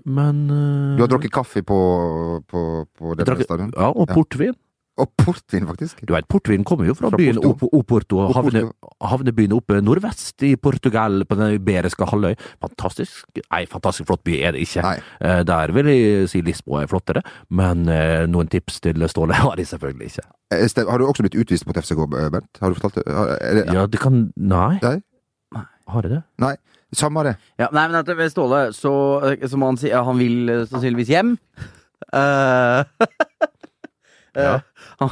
Speaker 2: Men eh,
Speaker 1: Du har drukket kaffe på, på, på det
Speaker 2: drakk-
Speaker 1: stadion?
Speaker 2: Ja, og portvin.
Speaker 1: Og portvin, faktisk.
Speaker 2: Du vet, portvin kommer jo fra,
Speaker 1: Fra
Speaker 2: byen
Speaker 1: Porto.
Speaker 2: Opo- Oporto,
Speaker 1: Oporto.
Speaker 2: havne, havnebyen oppe nordvest i Portugal, på den iberiske halvøy. Fantastisk Nei, fantastisk flott by er det ikke.
Speaker 1: Nei.
Speaker 2: Eh, Der vil jeg si Lisboa er flottere, men eh, noen tips til Ståle har jeg selvfølgelig ikke.
Speaker 1: Eh, Ste- Har du også blitt utvist mot FCK, Bernt? Har du fortalt det? Har- er det?
Speaker 2: Ja, du kan Nei.
Speaker 1: Nei?
Speaker 2: Har jeg det?
Speaker 1: Nei. Samme det.
Speaker 3: Ja, nei, men at ved Ståle, så, eh, som han sier, han vil eh, sannsynligvis hjem. Eh,
Speaker 2: Ja.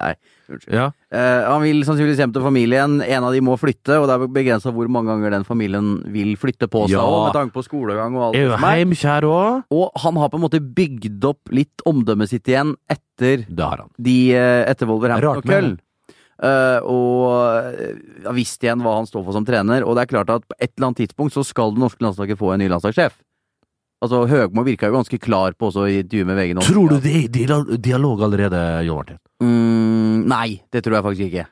Speaker 3: nei, unnskyld.
Speaker 2: Ja.
Speaker 3: Eh, han vil sannsynligvis hjem til familien. En av de må flytte, og det er begrensa hvor mange ganger den familien vil flytte på seg.
Speaker 2: Ja.
Speaker 3: også, Med tanke på skolegang og alt
Speaker 2: Er jo
Speaker 3: som er.
Speaker 2: heimkjær òg.
Speaker 3: Og han har på en måte bygd opp litt omdømmet sitt igjen etter,
Speaker 2: Det har han.
Speaker 3: de, eh, etter Wolverhampton
Speaker 2: Rart,
Speaker 3: og
Speaker 2: men-
Speaker 3: Köln. Eh, og eh, har visst igjen hva han står for som trener. Og det er klart at på et eller annet tidspunkt så skal det norske landslaget få en ny landslagssjef. Altså Høgmo virka jo ganske klar på også i intervjuet med VG nå.
Speaker 2: Tror du det er dial- dialog allerede, Jon Martin?
Speaker 3: Mm, nei, det tror jeg faktisk ikke.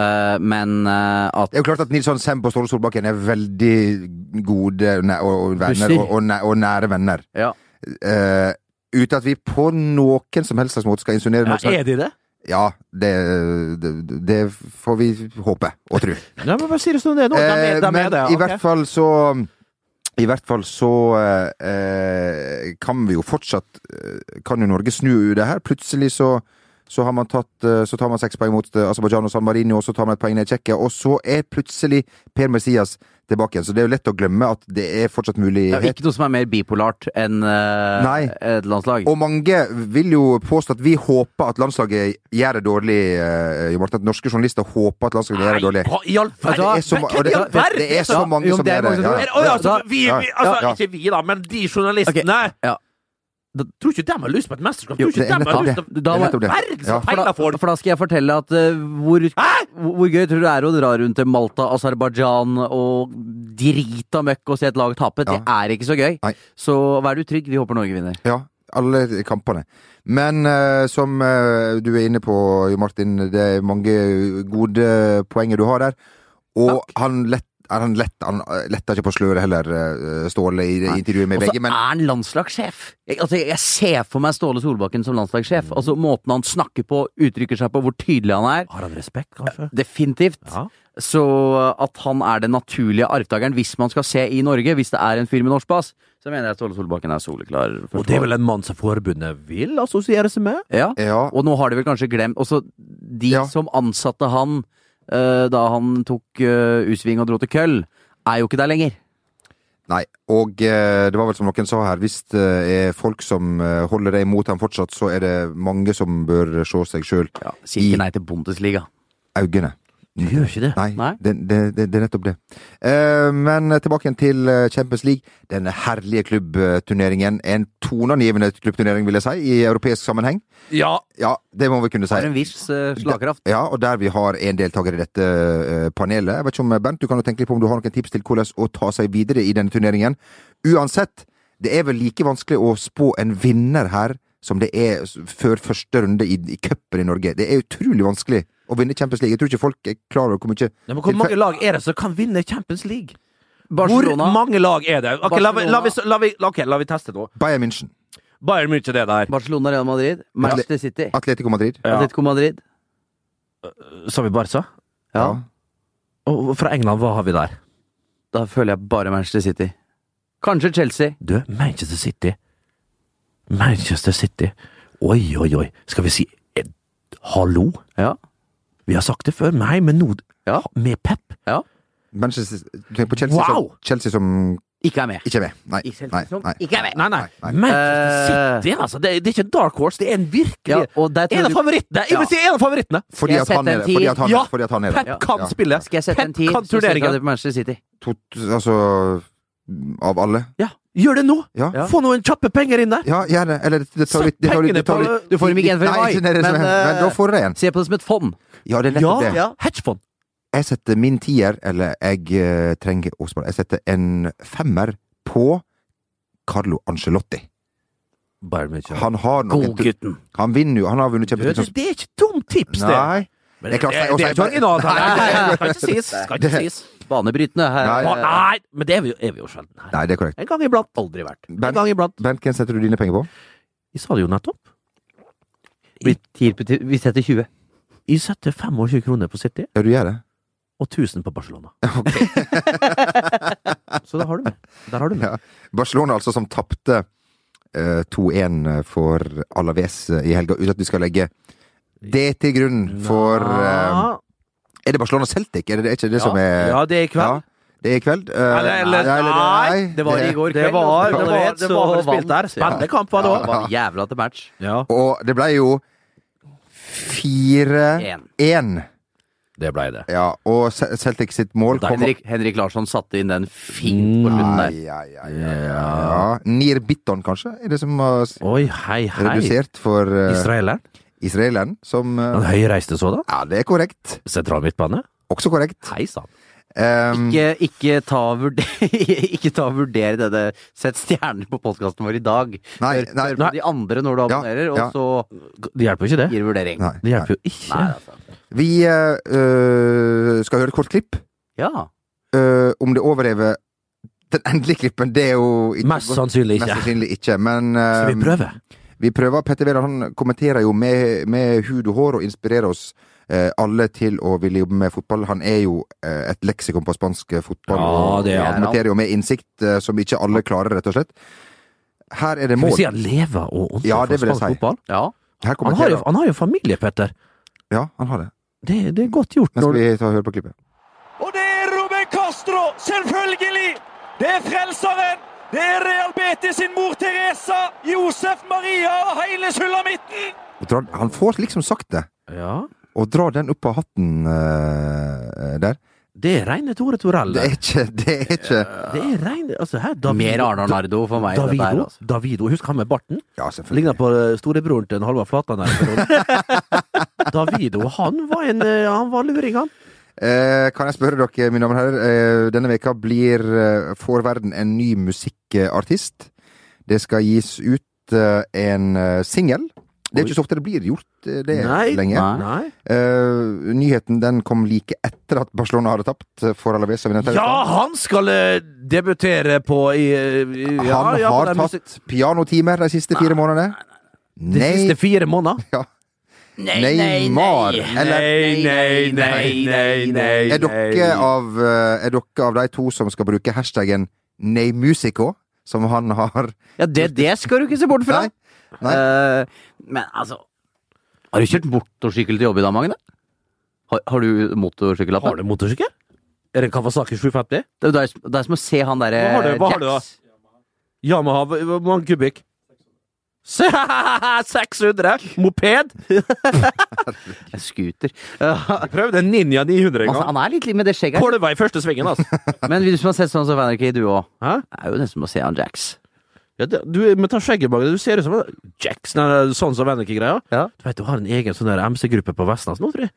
Speaker 3: Eh, men eh, at
Speaker 1: Det er jo klart at Nils Johan Semb og Ståle Solbakken er veldig gode næ- og, og venner,
Speaker 2: Busser.
Speaker 1: og, og, næ- og nære venner.
Speaker 3: Ja.
Speaker 1: Eh, uten at vi på noen som helst slags måte Eh, skal insinuere noe. slags-
Speaker 2: er de det?
Speaker 1: Ja, det, det, det får vi håpe og tro.
Speaker 2: Nei, men bare si det som det er nå. De er,
Speaker 1: Eh,
Speaker 2: de
Speaker 1: men
Speaker 2: er det.
Speaker 1: i hvert
Speaker 2: ok.
Speaker 1: fall så I hvert fall så eh, kan vi jo fortsatt eh, Kan jo Norge snu det her. Plutselig så så, har man tatt, eh, så tar man seks poeng mot eh, Aserbajdsjan og San Marino, og så tar man et poeng ned i Tsjekkia, og så er plutselig Per Messias tilbake igjen. Så det er jo lett å glemme at det er fortsatt mulighet.
Speaker 3: det er jo ikke noe som er mer bipolart enn eh,
Speaker 1: Nei.
Speaker 3: et landslag.
Speaker 1: Og mange vil jo påstå at vi håper at landslaget gjør det dårlig. eh, Jo Martin, at norske journalister håper at landslaget gjør det dårlig.
Speaker 2: Hva i all
Speaker 1: Ja, det er så,
Speaker 2: verden?
Speaker 1: ma- og det,
Speaker 2: Hvem i all verden?
Speaker 1: det er så mange
Speaker 3: jo,
Speaker 1: som
Speaker 3: det er
Speaker 1: gjør det.
Speaker 3: mange som
Speaker 1: Ja, ja.
Speaker 3: gjør det.
Speaker 2: Å, ja, altså, vi,
Speaker 1: Ja,
Speaker 2: vi, altså
Speaker 1: ja.
Speaker 2: Ikke vi, da, men de journalistene.
Speaker 3: Ja.
Speaker 2: Tror ikke dem har lyst på et mesterskap?
Speaker 1: Jo,
Speaker 2: Tror ikke
Speaker 1: det er
Speaker 2: dem har
Speaker 1: nettopp
Speaker 2: lyst
Speaker 1: det.
Speaker 2: på
Speaker 1: Det er nettopp det.
Speaker 2: verden som
Speaker 1: Ja.
Speaker 3: For
Speaker 2: feiler
Speaker 3: da,
Speaker 2: folk!
Speaker 3: for da skal jeg fortelle at eh, hvor, hvor hvor gøy tror du det er å dra rundt til Malta, Aserbajdsjan og drita møkk og se et lag tape? Det er ikke så gøy.
Speaker 1: Nei.
Speaker 3: Så vær du trygg, vi håper Norge vinner.
Speaker 1: Ja, alle kampene. Men eh, som eh, du er inne på, Jo Martin, det er mange gode poenger du har der. Og han lett er han lett, han eh, letta ikke på sløret heller, eh, Ståle, i det intervjuet med
Speaker 3: Og så
Speaker 1: VG.
Speaker 3: er
Speaker 1: Men
Speaker 3: han landslagssjef! Jeg, altså, jeg ser for meg Ståle Solbakken som
Speaker 2: Mm.
Speaker 3: landslagssjef. Altså Måten han snakker på, uttrykker seg på, hvor tydelig han er.
Speaker 2: Har han respekt, kanskje?
Speaker 3: Definitivt.
Speaker 2: Ja.
Speaker 3: Så at han er den naturlige arvtakeren hvis man skal se i Norge, hvis det er en fyr med norsk bas, så mener jeg Ståle Solbakken er soleklar.
Speaker 2: Og det er vel en mann som forbundet vil assosiere seg med?
Speaker 3: Ja.
Speaker 1: ja,
Speaker 3: Og nå har de vel kanskje glemt Også de
Speaker 1: Ja.
Speaker 3: som ansatte han eh, da han tok eh, U-sving og dro til Køll, er jo ikke der lenger.
Speaker 1: nei. Og eh, det var vel som noen sa her, hvis det er folk som eh, holder deg imot ham fortsatt, så er det mange som bør se seg sjøl
Speaker 3: Ja, Sier ikke
Speaker 1: I-
Speaker 3: nei til Bundesliga.
Speaker 1: i øynene.
Speaker 2: Du gjør ikke det.
Speaker 1: Nei,
Speaker 3: Nei.
Speaker 1: Det, det, det, det er nettopp det. Eh, men tilbake igjen til eh, Champions League. Denne herlige klubbturneringen. En toneangivende klubbturnering, vil jeg si, i europeisk sammenheng.
Speaker 2: Ja,
Speaker 1: Ja, det må vi kunne si.
Speaker 3: Har en viss eh, slagkraft.
Speaker 1: Ja, og der vi har en deltaker i dette eh, panelet. Jeg vet ikke om, eh, Bernt, du kan jo tenke litt på om du har noen tips til hvordan å ta seg videre i denne turneringen. Uansett, det er vel like vanskelig å spå en vinner her som det er s- før første runde i, i cupen i Norge. Det er utrolig vanskelig å vinne Champions League. Jeg tror ikke folk er klar over hvor mye
Speaker 2: Nei, men Hvor mange lag er det som kan vinne Champions League?
Speaker 3: Barcelona,
Speaker 2: Hvor mange lag er det? Ok, la, vi- la, vi, la, vi, ok, la vi teste nå.
Speaker 1: Bayern München.
Speaker 2: Bayern München det der.
Speaker 3: Barcelona, Real Madrid, Manchester City,
Speaker 1: Atletico Madrid.
Speaker 2: Ja.
Speaker 3: Atletico Madrid.
Speaker 2: Sa vi Barca?
Speaker 3: Ja.
Speaker 1: Ja.
Speaker 2: Og fra England, hva har vi der?
Speaker 3: Da føler jeg bare Manchester City. Kanskje Chelsea.
Speaker 2: Du, Manchester City. Manchester City. Oi, oi, oi. Skal vi si eh, hallo?
Speaker 3: Ja.
Speaker 2: Vi har sagt det før, nei, men nå
Speaker 3: Ja.
Speaker 2: med pep.
Speaker 1: Manchester tenk på Chelsea,
Speaker 2: Wow!
Speaker 1: som, Chelsea som
Speaker 3: Ikke er med.
Speaker 1: ikke er med. Nei.
Speaker 3: Ikke Chelsea
Speaker 1: nei,
Speaker 3: som
Speaker 1: nei.
Speaker 3: ikke er med.
Speaker 2: Nei, nei.
Speaker 1: Nei, Eh. nei.
Speaker 2: Manchester City, altså. Det, det er ikke en dark horse, det er en
Speaker 3: Ja,
Speaker 2: virkelig
Speaker 3: og der tror
Speaker 2: En av
Speaker 3: du,
Speaker 2: favorittene! Jeg vil si en av favorittene!
Speaker 1: Fordi
Speaker 3: jeg
Speaker 1: at, han
Speaker 3: sette
Speaker 1: er,
Speaker 3: en
Speaker 1: det, fordi at han,
Speaker 2: Ja.
Speaker 1: fordi at han er det.
Speaker 2: Pep kan
Speaker 1: Ja.
Speaker 2: spille!
Speaker 3: skal jeg sette en
Speaker 2: Pep
Speaker 3: tier,
Speaker 2: kan
Speaker 3: så setter jeg
Speaker 2: turneringen.
Speaker 3: det på Manchester City.
Speaker 1: To, altså Av alle.
Speaker 2: Ja, Gjør det nå!
Speaker 1: Ja. ja.
Speaker 2: Få noen kjappe penger inn der!
Speaker 1: gjør det. Eller det tar litt det tar litt- det tar litt-
Speaker 3: Du får dem ikke igjen før i
Speaker 1: Nei,
Speaker 3: mai,
Speaker 1: ikke det er det som
Speaker 3: men,
Speaker 1: er- men da
Speaker 3: eh,
Speaker 1: får du det igjen.
Speaker 3: Se på det som et fond.
Speaker 1: Ja, det er
Speaker 2: Ja,
Speaker 1: nettopp det.
Speaker 2: ja. Hedgefond.
Speaker 1: Jeg setter min tier, eller jeg eh, trenger å spare Jeg setter en femmer på Carlo Angelotti.
Speaker 2: Bayern München.
Speaker 1: Han har noen
Speaker 3: Godgutten.
Speaker 1: Han vinner jo. Han har vunnet
Speaker 2: Du, det,
Speaker 1: Champions League.
Speaker 2: det er ikke dumt tips, det!
Speaker 1: Nei.
Speaker 2: Men
Speaker 1: Det er klart,
Speaker 2: det,
Speaker 1: og
Speaker 2: det
Speaker 1: så er
Speaker 2: er ikke
Speaker 1: bare-
Speaker 2: originalt.
Speaker 1: Nei,
Speaker 2: Nei,
Speaker 1: nei, nei.
Speaker 2: Kan ikke sies. Kan ikke
Speaker 1: Det-
Speaker 2: sies.
Speaker 3: Banebrytende. Her,
Speaker 1: Nei.
Speaker 2: Ba-
Speaker 3: eh,
Speaker 2: Nei, men det er vi, jo- er vi jo sjelden her.
Speaker 1: Nei, det er korrekt.
Speaker 2: En gang iblant. Aldri vært. En
Speaker 1: Bernt-
Speaker 2: gang iblant.
Speaker 1: Bent, hvem setter du dine penger på?
Speaker 2: Vi sa det jo nettopp. i,
Speaker 3: Blir tier på ti- Vi setter 20.
Speaker 2: i 25 kroner på City
Speaker 1: Ja, du gjør det?
Speaker 2: og 1000 på Barcelona.
Speaker 3: Så da har du med. Der har du med.
Speaker 1: Ja. Barcelona altså som tapte eh, 2-1 for Alaves eh, i helga, uten at vi skal legge det til grunn for eh,
Speaker 2: Ja.
Speaker 1: Er det Barcelona Celtic? Er det, er ikke det som er
Speaker 2: Ah, ja, det er i kveld.
Speaker 1: Ja, det er i kveld. Eh,
Speaker 2: Eller- eller- nei,
Speaker 3: Det var i går kveld.
Speaker 2: Det var, det
Speaker 3: altså.
Speaker 2: var, det var, det
Speaker 3: Så
Speaker 2: spilt der.
Speaker 3: vant-
Speaker 2: Spennende kamp var det
Speaker 3: Ja,
Speaker 2: òg.
Speaker 3: det var jævla til match.
Speaker 2: Ja,
Speaker 1: Og det ble jo 4-1.
Speaker 2: det blei det.
Speaker 1: Ja, og Ce- Celtic sitt mål kom
Speaker 3: Henrik, Henrik Larsson satte inn den fint på slutten
Speaker 1: Ai,
Speaker 3: der.
Speaker 1: ai, ai, ai, ai. Ja. Nir Bitton, kanskje, er det som har s-
Speaker 2: Oi, hei, hei.
Speaker 1: redusert for eh,
Speaker 2: Israeleren.
Speaker 1: israeleren, som eh,
Speaker 2: Han høy reiste sådan.
Speaker 1: Ja, det er korrekt.
Speaker 2: Sentral midtbane.
Speaker 1: Også korrekt.
Speaker 2: Hei sann.
Speaker 1: Um,
Speaker 3: Ikke, ikke, ta og vurder, ikke ta og vurdere dette. Sett stjerner på podkasten vår i dag.
Speaker 1: Nei,
Speaker 3: Hør-
Speaker 1: nei,
Speaker 3: hør på de andre når du abonnerer,
Speaker 1: ja.
Speaker 3: og så
Speaker 2: Det hjelper jo ikke, det.
Speaker 3: gir vurdering.
Speaker 1: Nei.
Speaker 2: Det hjelper jo ikke.
Speaker 3: Nei, altså.
Speaker 1: Vi eh, eh, skal høre et kort klipp.
Speaker 3: Ja.
Speaker 1: Eh, om det overlever den endelige klippen, det er jo ikke
Speaker 2: Mest sannsynlig
Speaker 1: Mest
Speaker 2: ikke.
Speaker 1: sannsynlig ikke, men eh,
Speaker 2: Skal vi prøve?
Speaker 1: Vi prøver. Petter Wæland han kommenterer jo med, med hud og hår og inspirerer oss eh, alle til å ville jobbe med fotball. Han er jo eh, et leksikon på spansk eh, fotball.
Speaker 2: Ja,
Speaker 1: og
Speaker 2: det er
Speaker 1: han
Speaker 3: han.
Speaker 1: kommenterer jo med innsikt eh, som ikke alle klarer, rett og slett. Her er det
Speaker 2: Skal vi
Speaker 1: mål.
Speaker 2: si han lever og ånder
Speaker 1: Ja,
Speaker 2: for
Speaker 1: det vil jeg
Speaker 2: spansk
Speaker 1: si.
Speaker 2: fotball?
Speaker 3: ja.
Speaker 1: Her
Speaker 2: Han har,
Speaker 1: kommenterer
Speaker 2: jo, han har jo familie, Petter.
Speaker 1: Ja, han har det.
Speaker 2: Det, det er godt gjort.
Speaker 1: Men
Speaker 2: Når,
Speaker 1: skal vi ta og høre på klippet?
Speaker 6: Og det er Ruben Castro, selvfølgelig! Det er frelseren! Det er Real Betis sin mor Teresa, Josef Maria og hele sulamitten!
Speaker 1: Og drar- Han får liksom sagt det,
Speaker 2: ja,
Speaker 1: og drar den opp av hatten eh, der.
Speaker 2: det er reine Tore Torell.
Speaker 1: Det er ikke Det er ikke
Speaker 2: Det er reine altså, her, Davido,
Speaker 3: Mer Arne Arnardo for meg. dette her,
Speaker 2: Davido,
Speaker 3: altså.
Speaker 2: Davido, husk han med barten?
Speaker 1: Ja,
Speaker 2: Ligner
Speaker 1: selvfølgelig.
Speaker 2: på eh, storebroren til en Halvard Flatan der. Davido, han var en eh, Han var luring, han.
Speaker 1: Eh, kan jeg spørre dere, mine damer og herrer, eh, denne veka blir eh, får verden en ny musikkartist. Det skal gis ut eh, en eh, singel. Det er
Speaker 2: Oi.
Speaker 1: ikke så ofte det blir gjort eh, det
Speaker 2: Nei,
Speaker 1: lenge.
Speaker 3: nei.
Speaker 2: Nei.
Speaker 1: Eh, nyheten den kom like etter at Barcelona hadde tapt eh, for Alaves. som vi nevnte.
Speaker 2: Ja, han skal eh, debutere på i, eh, i
Speaker 1: han
Speaker 2: ja, ja, på
Speaker 1: har
Speaker 2: den
Speaker 1: tatt
Speaker 2: musikk-
Speaker 1: pianotimer de siste fire månedene.
Speaker 2: De siste fire måneder.
Speaker 1: Neymar! Eller
Speaker 2: nei, nei, nei, nei.
Speaker 1: er dere, av, eh, er dere av de to som skal bruke hashtaggen Neymusico, som han har
Speaker 3: Ja, det, det skal du ikke se bort fra!
Speaker 1: Nei. Nei.
Speaker 3: Eh, men altså Har du kjørt motorsykkel til jobb i dag, Magne? Har, har du motorsykkellappen?
Speaker 2: Har du motorsykkel? Er det en Kawasaki 750?
Speaker 3: Det er, jo deg- det er som å se han derre
Speaker 2: Hva har du- hva har du da?
Speaker 3: Jacks.
Speaker 2: Yamaha, hvor- hvor mange kubikk? Se, 600! Moped!
Speaker 3: En Scooter. Eh,
Speaker 2: Prøv den Ninja 900 en
Speaker 3: Altså,
Speaker 2: gang.
Speaker 3: han er litt litt med det skjegget. her.
Speaker 2: Kolva i første svingen, altså.
Speaker 3: Men hvis man har sett sånn som Van Arcade, du òg.
Speaker 2: Hæ?
Speaker 3: Det er jo nesten som å se han Jacks.
Speaker 2: Ja, det- du, men ta skjegget bak deg. Du ser ut som en Jackson eller sånn som Vennike-greia.
Speaker 3: Ja.
Speaker 2: Du vet, du har en egen sånn der MC-gruppe på Vestnes nå, tror jeg.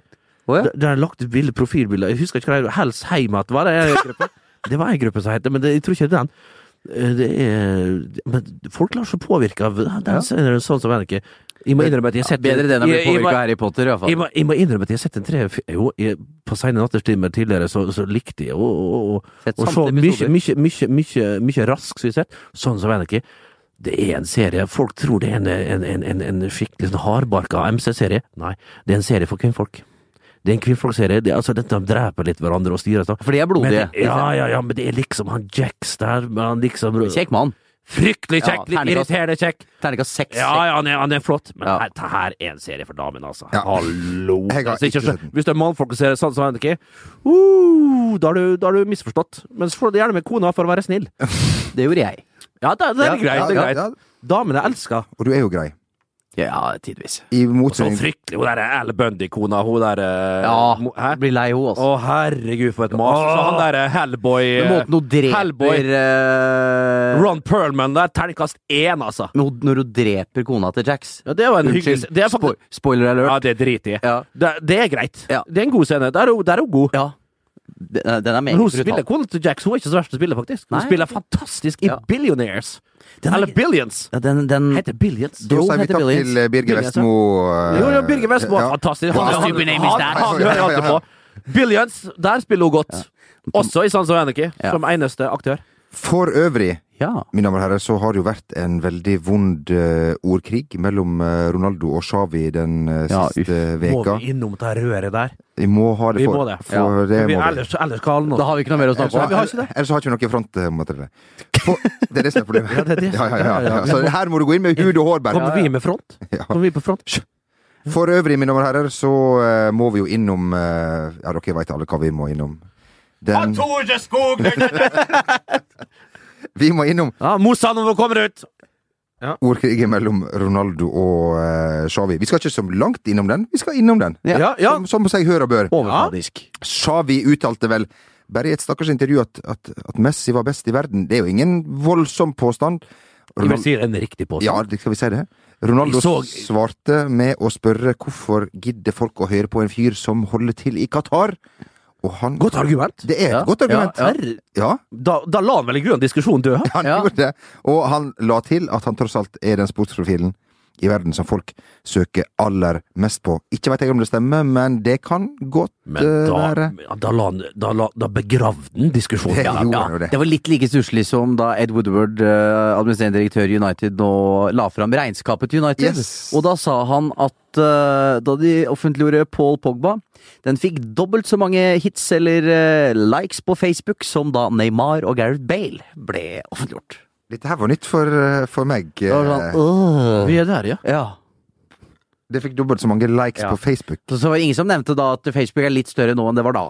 Speaker 3: Å ja.
Speaker 2: Der- Der har jeg lagt ut bilde, profilbilder. Jeg husker ikke hva det er. Hells Heimat, var det en gruppe? Det var en gruppe som het det, men det, jeg tror ikke det er den. Eh, Det er, men folk lar seg påvirke av den scenen, sånn som Vennike. Jeg må innrømme at jeg har sett
Speaker 3: Bedre det enn å bli
Speaker 2: Jeg- jeg må-
Speaker 3: påvirka av Harry Potter, i
Speaker 2: jeg
Speaker 3: hvert fall.
Speaker 2: må, jeg må innrømme at jeg har sett en tre Jo, jeg, på sene nattestimer tidligere så, så likte jeg å, å, å,
Speaker 3: Sett
Speaker 2: å se
Speaker 3: samtlige
Speaker 2: mye,
Speaker 3: episoder.
Speaker 2: mye, mye, mye, mye rask, som jeg har sett. Sånn som Anarchy. Det er en serie Folk tror det er en, en, en, en, en skikkelig sånn hardbarka MC-serie. Nei, det er en serie for kvinnfolk. Det er en kvinnfolkserie. Det er Altså, dette dreper litt hverandre og styrer sånn.
Speaker 3: For de er
Speaker 2: Men,
Speaker 3: blodige.
Speaker 2: ja, ja, ja, men det er liksom han Jacks der, men han liksom
Speaker 3: Kjekk mann.
Speaker 2: Fryktelig
Speaker 3: Ja,
Speaker 2: kjekk! litt
Speaker 3: terningkast.
Speaker 2: irriterende kjekk.
Speaker 3: Terningkast seks.
Speaker 2: Ja, ja, han er, han er flott, men
Speaker 3: Ja.
Speaker 2: her, dette her er en serie for damene, altså.
Speaker 1: Ja.
Speaker 2: Hallo!
Speaker 1: Jeg har
Speaker 2: Altså,
Speaker 1: ikke
Speaker 2: ikke,
Speaker 1: sett den.
Speaker 2: hvis det er mannfolk og ser sånn som Henrik, uh, da har du, da har du misforstått. Men så får du det gjerne med kona for å være snill.
Speaker 3: seks. Det gjorde jeg.
Speaker 2: Ja, det, det er greit.
Speaker 1: ja,
Speaker 2: det er
Speaker 1: ja,
Speaker 2: greit.
Speaker 1: ja.
Speaker 2: Damene elsker.
Speaker 1: Og du er jo grei.
Speaker 3: Ja, tidvis.
Speaker 1: I
Speaker 2: Og så
Speaker 1: motsetning
Speaker 2: fryktelig hun der Al Bundy-kona, hun der eh,
Speaker 3: Ja,
Speaker 2: mo- Hæ?
Speaker 3: blir lei hun
Speaker 2: Å,
Speaker 3: også.
Speaker 2: herregud, for et mas. Så han derre Hellboy
Speaker 3: Men
Speaker 2: eh,
Speaker 3: måten hun
Speaker 2: Hellboy.
Speaker 3: dreper eh,
Speaker 2: Ron Perlman der, terningkast én, altså.
Speaker 3: Men hun- Når hun dreper kona til Jacks
Speaker 2: Ja, det var en hyggelig det er
Speaker 3: Spo
Speaker 2: faktisk,
Speaker 3: Spoiler
Speaker 2: Ja,
Speaker 3: alert.
Speaker 2: det driter jeg i.
Speaker 3: Ja.
Speaker 2: Det, det er greit.
Speaker 3: Ja.
Speaker 2: Det er en god scene. Der er hun, der er hun god.
Speaker 3: ja. Den er- Den er meget
Speaker 2: Men hun
Speaker 3: brutal.
Speaker 2: spiller kona til Jax, hun er ikke så verst å spille, faktisk. Hun
Speaker 3: Nei.
Speaker 2: spiller fantastisk i
Speaker 3: Ja.
Speaker 2: Billionaires.
Speaker 3: Den er- Mm.
Speaker 2: Eller Billions.
Speaker 3: Ja, den, den
Speaker 2: Heter Billions.
Speaker 1: Da
Speaker 3: Jo,
Speaker 1: sier vi
Speaker 3: heter
Speaker 1: takk
Speaker 3: Billions.
Speaker 1: til eh, Birger
Speaker 2: Billions, ja.
Speaker 1: Vestmo. eh,
Speaker 2: Jo, jo, Birger Westmo er
Speaker 1: ja.
Speaker 2: fantastisk.
Speaker 1: Ja,
Speaker 2: Han, han,
Speaker 3: stupid
Speaker 2: han,
Speaker 3: name is
Speaker 2: han,
Speaker 3: that.
Speaker 2: hører jeg alltid på. Billions, der spiller hun godt. Også i Sons of Anarchy,
Speaker 3: Ja.
Speaker 2: som eneste aktør.
Speaker 1: For øvrig,
Speaker 3: Ja.
Speaker 1: mine damer og herrer, så har det jo vært en veldig vond eh, ordkrig mellom eh, Ronaldo og Xavi den eh,
Speaker 3: Ja,
Speaker 1: siste
Speaker 2: Må
Speaker 1: veka.
Speaker 2: vi innom det her røret der?
Speaker 1: Vi må ha det
Speaker 2: Vi
Speaker 1: for,
Speaker 2: må det,
Speaker 1: for
Speaker 3: ja.
Speaker 1: det
Speaker 2: Vi,
Speaker 1: må vi.
Speaker 2: ellers, ellers skal han
Speaker 3: Da
Speaker 2: også.
Speaker 3: har vi ikke noe mer å
Speaker 1: Ellers
Speaker 3: snakke
Speaker 1: så,
Speaker 3: om.
Speaker 1: ellers så har ikke vi noe frontmateriell. For- Det er det som er problemet.
Speaker 2: Ja, det er det.
Speaker 1: Ja, ja, ja, ja,
Speaker 2: Ja, ja.
Speaker 1: Så her må du gå inn med hud og hår, Bernt.
Speaker 2: Kommer vi med front?
Speaker 1: Ja.
Speaker 2: Kommer vi på front?
Speaker 1: For øvrig, mine damer og herrer, så eh, må vi jo innom eh, Ja, dere veit alle hva vi må innom. Den, vi må innom
Speaker 2: Ja, Morsan, nå kommer ut!
Speaker 1: ordkrigen mellom Ronaldo og eh, Xavi. Vi skal ikke så langt innom den, vi skal innom den.
Speaker 3: Ja.
Speaker 2: Ja, ja.
Speaker 1: Som, som seg hør og bør.
Speaker 3: Overfladisk.
Speaker 1: Xavi uttalte vel bare i et stakkars intervju at, at, at Messi var best i verden. Det er jo ingen voldsom påstand.
Speaker 2: Vi
Speaker 1: Ronal-
Speaker 2: sier en riktig påstand.
Speaker 1: ja, det skal vi si det? Ronaldo
Speaker 2: Jeg så-
Speaker 1: svarte med å spørre hvorfor gidder folk å høre på en fyr som holder til i Qatar? Og han
Speaker 2: Godt argument.
Speaker 1: Det er et
Speaker 3: Ja,
Speaker 1: godt argument.
Speaker 3: ja,
Speaker 2: Herre-
Speaker 1: Ja,
Speaker 2: Da, da la han vel i grunnen diskusjonen dø? hæ?
Speaker 1: han
Speaker 3: Ja.
Speaker 1: gjorde det. Og han la til at han tross alt er den sportsprofilen i verden som folk søker aller mest på. Ikke veit jeg om det stemmer, men det kan godt
Speaker 2: Men
Speaker 1: eh,
Speaker 2: da,
Speaker 1: være.
Speaker 2: ja, da, la han, da, la, da begravde han diskusjonen.
Speaker 1: Det
Speaker 2: Ja,
Speaker 1: gjorde
Speaker 2: ja.
Speaker 1: han jo det.
Speaker 3: Det var litt like stusslig som da Ed Woodward, eh, administrerende direktør i United, nå la fram regnskapet til United.
Speaker 1: Yes.
Speaker 3: Og da sa han at eh, da de offentliggjorde Paul Pogba, den fikk dobbelt så mange hits eller eh, likes på Facebook som da Neymar og Gareth Bale ble offentliggjort.
Speaker 1: Dette her var nytt for, eh, for meg.
Speaker 3: Da var
Speaker 1: Eh,
Speaker 3: det sånn,
Speaker 2: Vi er der, ja.
Speaker 3: øh, ja.
Speaker 1: Det fikk dobbelt så mange likes
Speaker 3: Ja.
Speaker 1: på Facebook.
Speaker 3: Så, så var det ingen som nevnte da at Facebook er litt større nå enn det var da.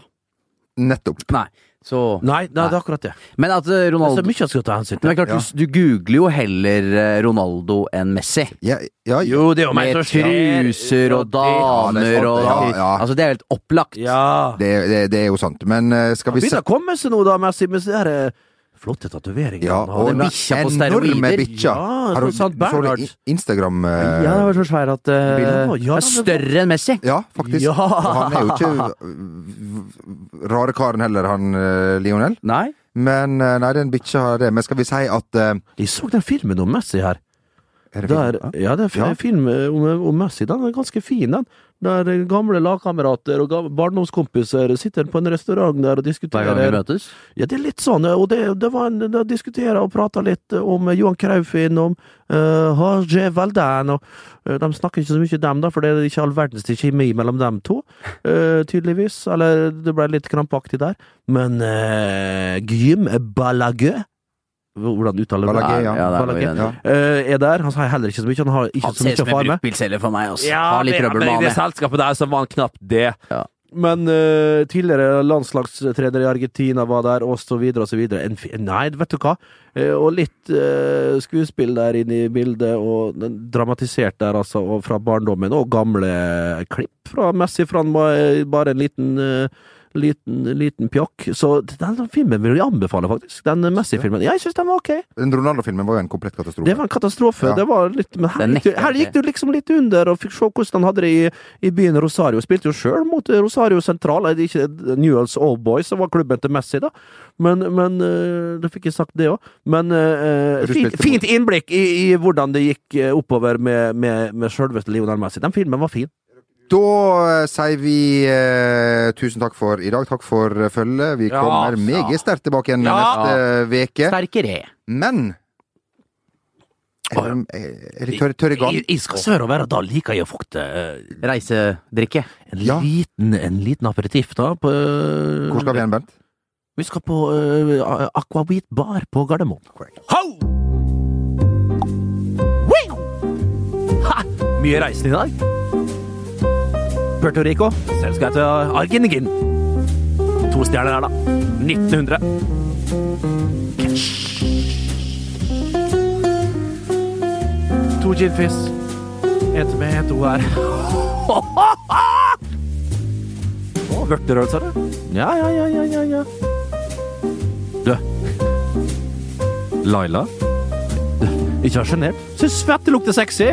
Speaker 1: Nettopp.
Speaker 3: Nei. Så
Speaker 2: Nei, nei, det er akkurat det.
Speaker 3: Men at
Speaker 2: Det
Speaker 3: eh,
Speaker 2: er så
Speaker 3: Ronaldo
Speaker 2: mye han skal ta hensyn
Speaker 3: Men
Speaker 2: til.
Speaker 3: det er klart,
Speaker 1: Ja.
Speaker 3: du, du googler jo heller eh, Ronaldo enn Messi.
Speaker 1: Ja, ja,
Speaker 2: Jo, det er jo meg
Speaker 3: Med
Speaker 2: som
Speaker 3: truser og
Speaker 1: det er
Speaker 3: damer
Speaker 1: sant,
Speaker 3: og
Speaker 1: ja, ja.
Speaker 3: Altså, det er jo helt opplagt.
Speaker 2: Ja.
Speaker 1: Det, det, det er jo sant. Men eh, skal vi se
Speaker 2: Begynner å komme seg nå, da, Messi, med de der eh, flotte tatoveringene.
Speaker 1: ja,
Speaker 2: han har.
Speaker 1: og
Speaker 3: en bikkje på
Speaker 1: enorme
Speaker 3: steroider.
Speaker 1: bikkja.
Speaker 2: Ja,
Speaker 1: Har du-
Speaker 2: sånn sant,
Speaker 1: du så det
Speaker 2: Bernhard.
Speaker 1: i- Instagram eh,
Speaker 3: Ja, det var så svær at eh,
Speaker 2: Bildet, ja,
Speaker 3: det er
Speaker 2: men-
Speaker 3: Større enn Messi.
Speaker 1: Ja, faktisk.
Speaker 2: Ja.
Speaker 1: Og han er jo ikke øh, rare karen heller, han øh, Lionel.
Speaker 3: Nei?
Speaker 1: Men øh, nei, den bikkja har det. Men skal vi si at øh,
Speaker 2: De så den filmen om Messi her.
Speaker 1: er det
Speaker 2: Der,
Speaker 1: fint?
Speaker 2: ja, det er fi-
Speaker 1: Ja.
Speaker 2: en film eh, om, om Messi. Den er ganske fin, den. Der eh, gamle lagkamerater og gam- barndomskompiser sitter på en restaurant der og
Speaker 3: Hver gang vi
Speaker 2: diskuterer.
Speaker 3: møtes.
Speaker 2: Ja, det er litt sånn, eh, og det, det var en, de diskuterer og prater litt eh, om eh, Johan Kraufin, om uh, Harje Valdan, og eh, de snakker ikke så mye dem da, for det er ikke all verdens til kjemi mellom dem to, eh, tydeligvis, eller det ble litt krampaktig der, men uh, Gym Balagø, hvordan uttaler man det?
Speaker 1: Balagø, ja.
Speaker 3: det er
Speaker 2: Balagø.
Speaker 3: vi enig i.
Speaker 1: Ja.
Speaker 2: Eh, er der, han sier heller ikke så mye, han har ikke
Speaker 3: Han
Speaker 2: så mye
Speaker 3: ser ut
Speaker 2: å
Speaker 3: som en
Speaker 2: fare med.
Speaker 3: bruktbilselger for meg, altså. Har litt
Speaker 2: det-
Speaker 3: trøbbel
Speaker 2: men
Speaker 3: med
Speaker 2: i det
Speaker 3: han. jeg.
Speaker 2: selskapet der så var han knapt det.
Speaker 3: Ja.
Speaker 2: Men eh, tidligere landslagstrener i Argentina var der, og så videre og så videre. En, fi- nei, vet du hva? Eh, og litt eh, skuespill der inne i bildet, og den dramatisert der, altså, og fra barndommen, og gamle klipp fra Messi, for han var eh, bare en liten eh, Liten, liten pjokk. Så den filmen vil jeg anbefale, faktisk. Den Messi-filmen. Ja, jeg syns den var ok.
Speaker 1: Den Ronaldo-filmen var jo en komplett katastrofe.
Speaker 2: Det var en katastrofe.
Speaker 1: Ja.
Speaker 2: Det var litt, men her,
Speaker 3: Den
Speaker 2: gikk du,
Speaker 3: nekter
Speaker 2: her
Speaker 3: jeg
Speaker 2: gikk du liksom litt under, og fikk se hvordan han hadde det i, i byen Rosario. Spilte jo sjøl mot eh, Rosario Sentral, eh, ikke Newells Old Boys, som var klubben til Messi, da. Men, men eh, Da fikk jeg sagt det òg. Men eh,
Speaker 1: Du spilte
Speaker 2: fint,
Speaker 1: mot-
Speaker 2: fint innblikk i, i hvordan det gikk eh, oppover med, med, med sjølveste Lionel Messi. Den filmen var fin.
Speaker 1: Da øh, sier vi øh, tusen takk for i dag. Takk for øh, følget. Vi
Speaker 2: Ja,
Speaker 1: kommer meget sterkt tilbake igjen neste eh, uke.
Speaker 3: Sterkere.
Speaker 1: Men er,
Speaker 2: Å,
Speaker 1: er, er det tørr, tørr i gang?
Speaker 2: Jeg, jeg skal sørover, og da liker jeg å fukte eh,
Speaker 3: Reisedrikke.
Speaker 2: en,
Speaker 1: Ja.
Speaker 2: liten, en liten aperitiff, da. På, eh,
Speaker 1: Hvor skal vi hen, Bent?
Speaker 2: Vi skal på uh, Aquavit Bar på Gardermoen.
Speaker 1: Korrekt.
Speaker 2: Ho! Wing! Ha! Mye reisende i dag. Puerto Rico. Selv skal jeg til Argenigin. To stjerner her, da. 1900. Catch. To ginfis. Ett med, ett O her. Å, Vørterøl, sa du? Ja, ja, ja, ja, ja, ja. Du. Laila? Du, Ikke vær sjenert. Syns svette lukter sexy.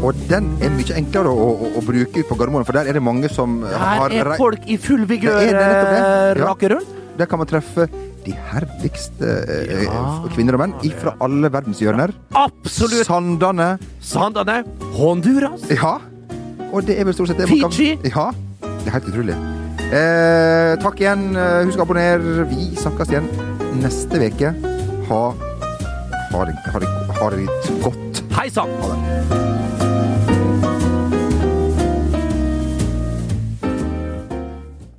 Speaker 1: Og den er mye enklere å, å, å bruke ut på Gardermoen, for der er det mange som øh, har
Speaker 2: Her er
Speaker 1: rei-
Speaker 2: folk i full vigør,
Speaker 1: Det er det, nettopp det.
Speaker 2: eh,
Speaker 1: Ja.
Speaker 2: rake rundt.
Speaker 1: Der kan man treffe de herligste eh,
Speaker 2: Ja.
Speaker 1: eh, kvinner og menn fra alle verdens hjørner.
Speaker 2: Absolutt.
Speaker 1: Sandane.
Speaker 2: Sandane. Honduras.
Speaker 1: Eh. Ja. Og det er vel stort sett det man kan
Speaker 2: Fiji.
Speaker 1: Ja. Det er helt utrolig. Eh, takk igjen. Eh, Husk å abonnere. Vi snakkes igjen neste uke. Ha, ha, det, ha, det, ha det litt godt.
Speaker 2: Hei sann!
Speaker 1: Ha det.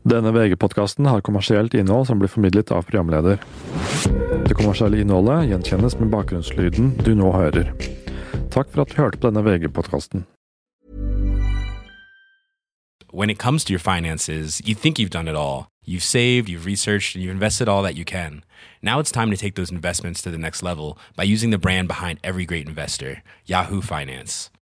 Speaker 7: Denne VG-podkasten har kommersielt innhold som blir formidlet av programleder. Det kommersielle innholdet gjenkjennes med bakgrunnslyden du nå hører. Takk for at du hørte på denne VG-podkasten.
Speaker 8: when it comes to your finances, you think you've done it all. You've saved, you've researched, and you've invested all that you can. Now it's time to take those investments to the next level by using the brand behind every great investor, Yahoo Finance.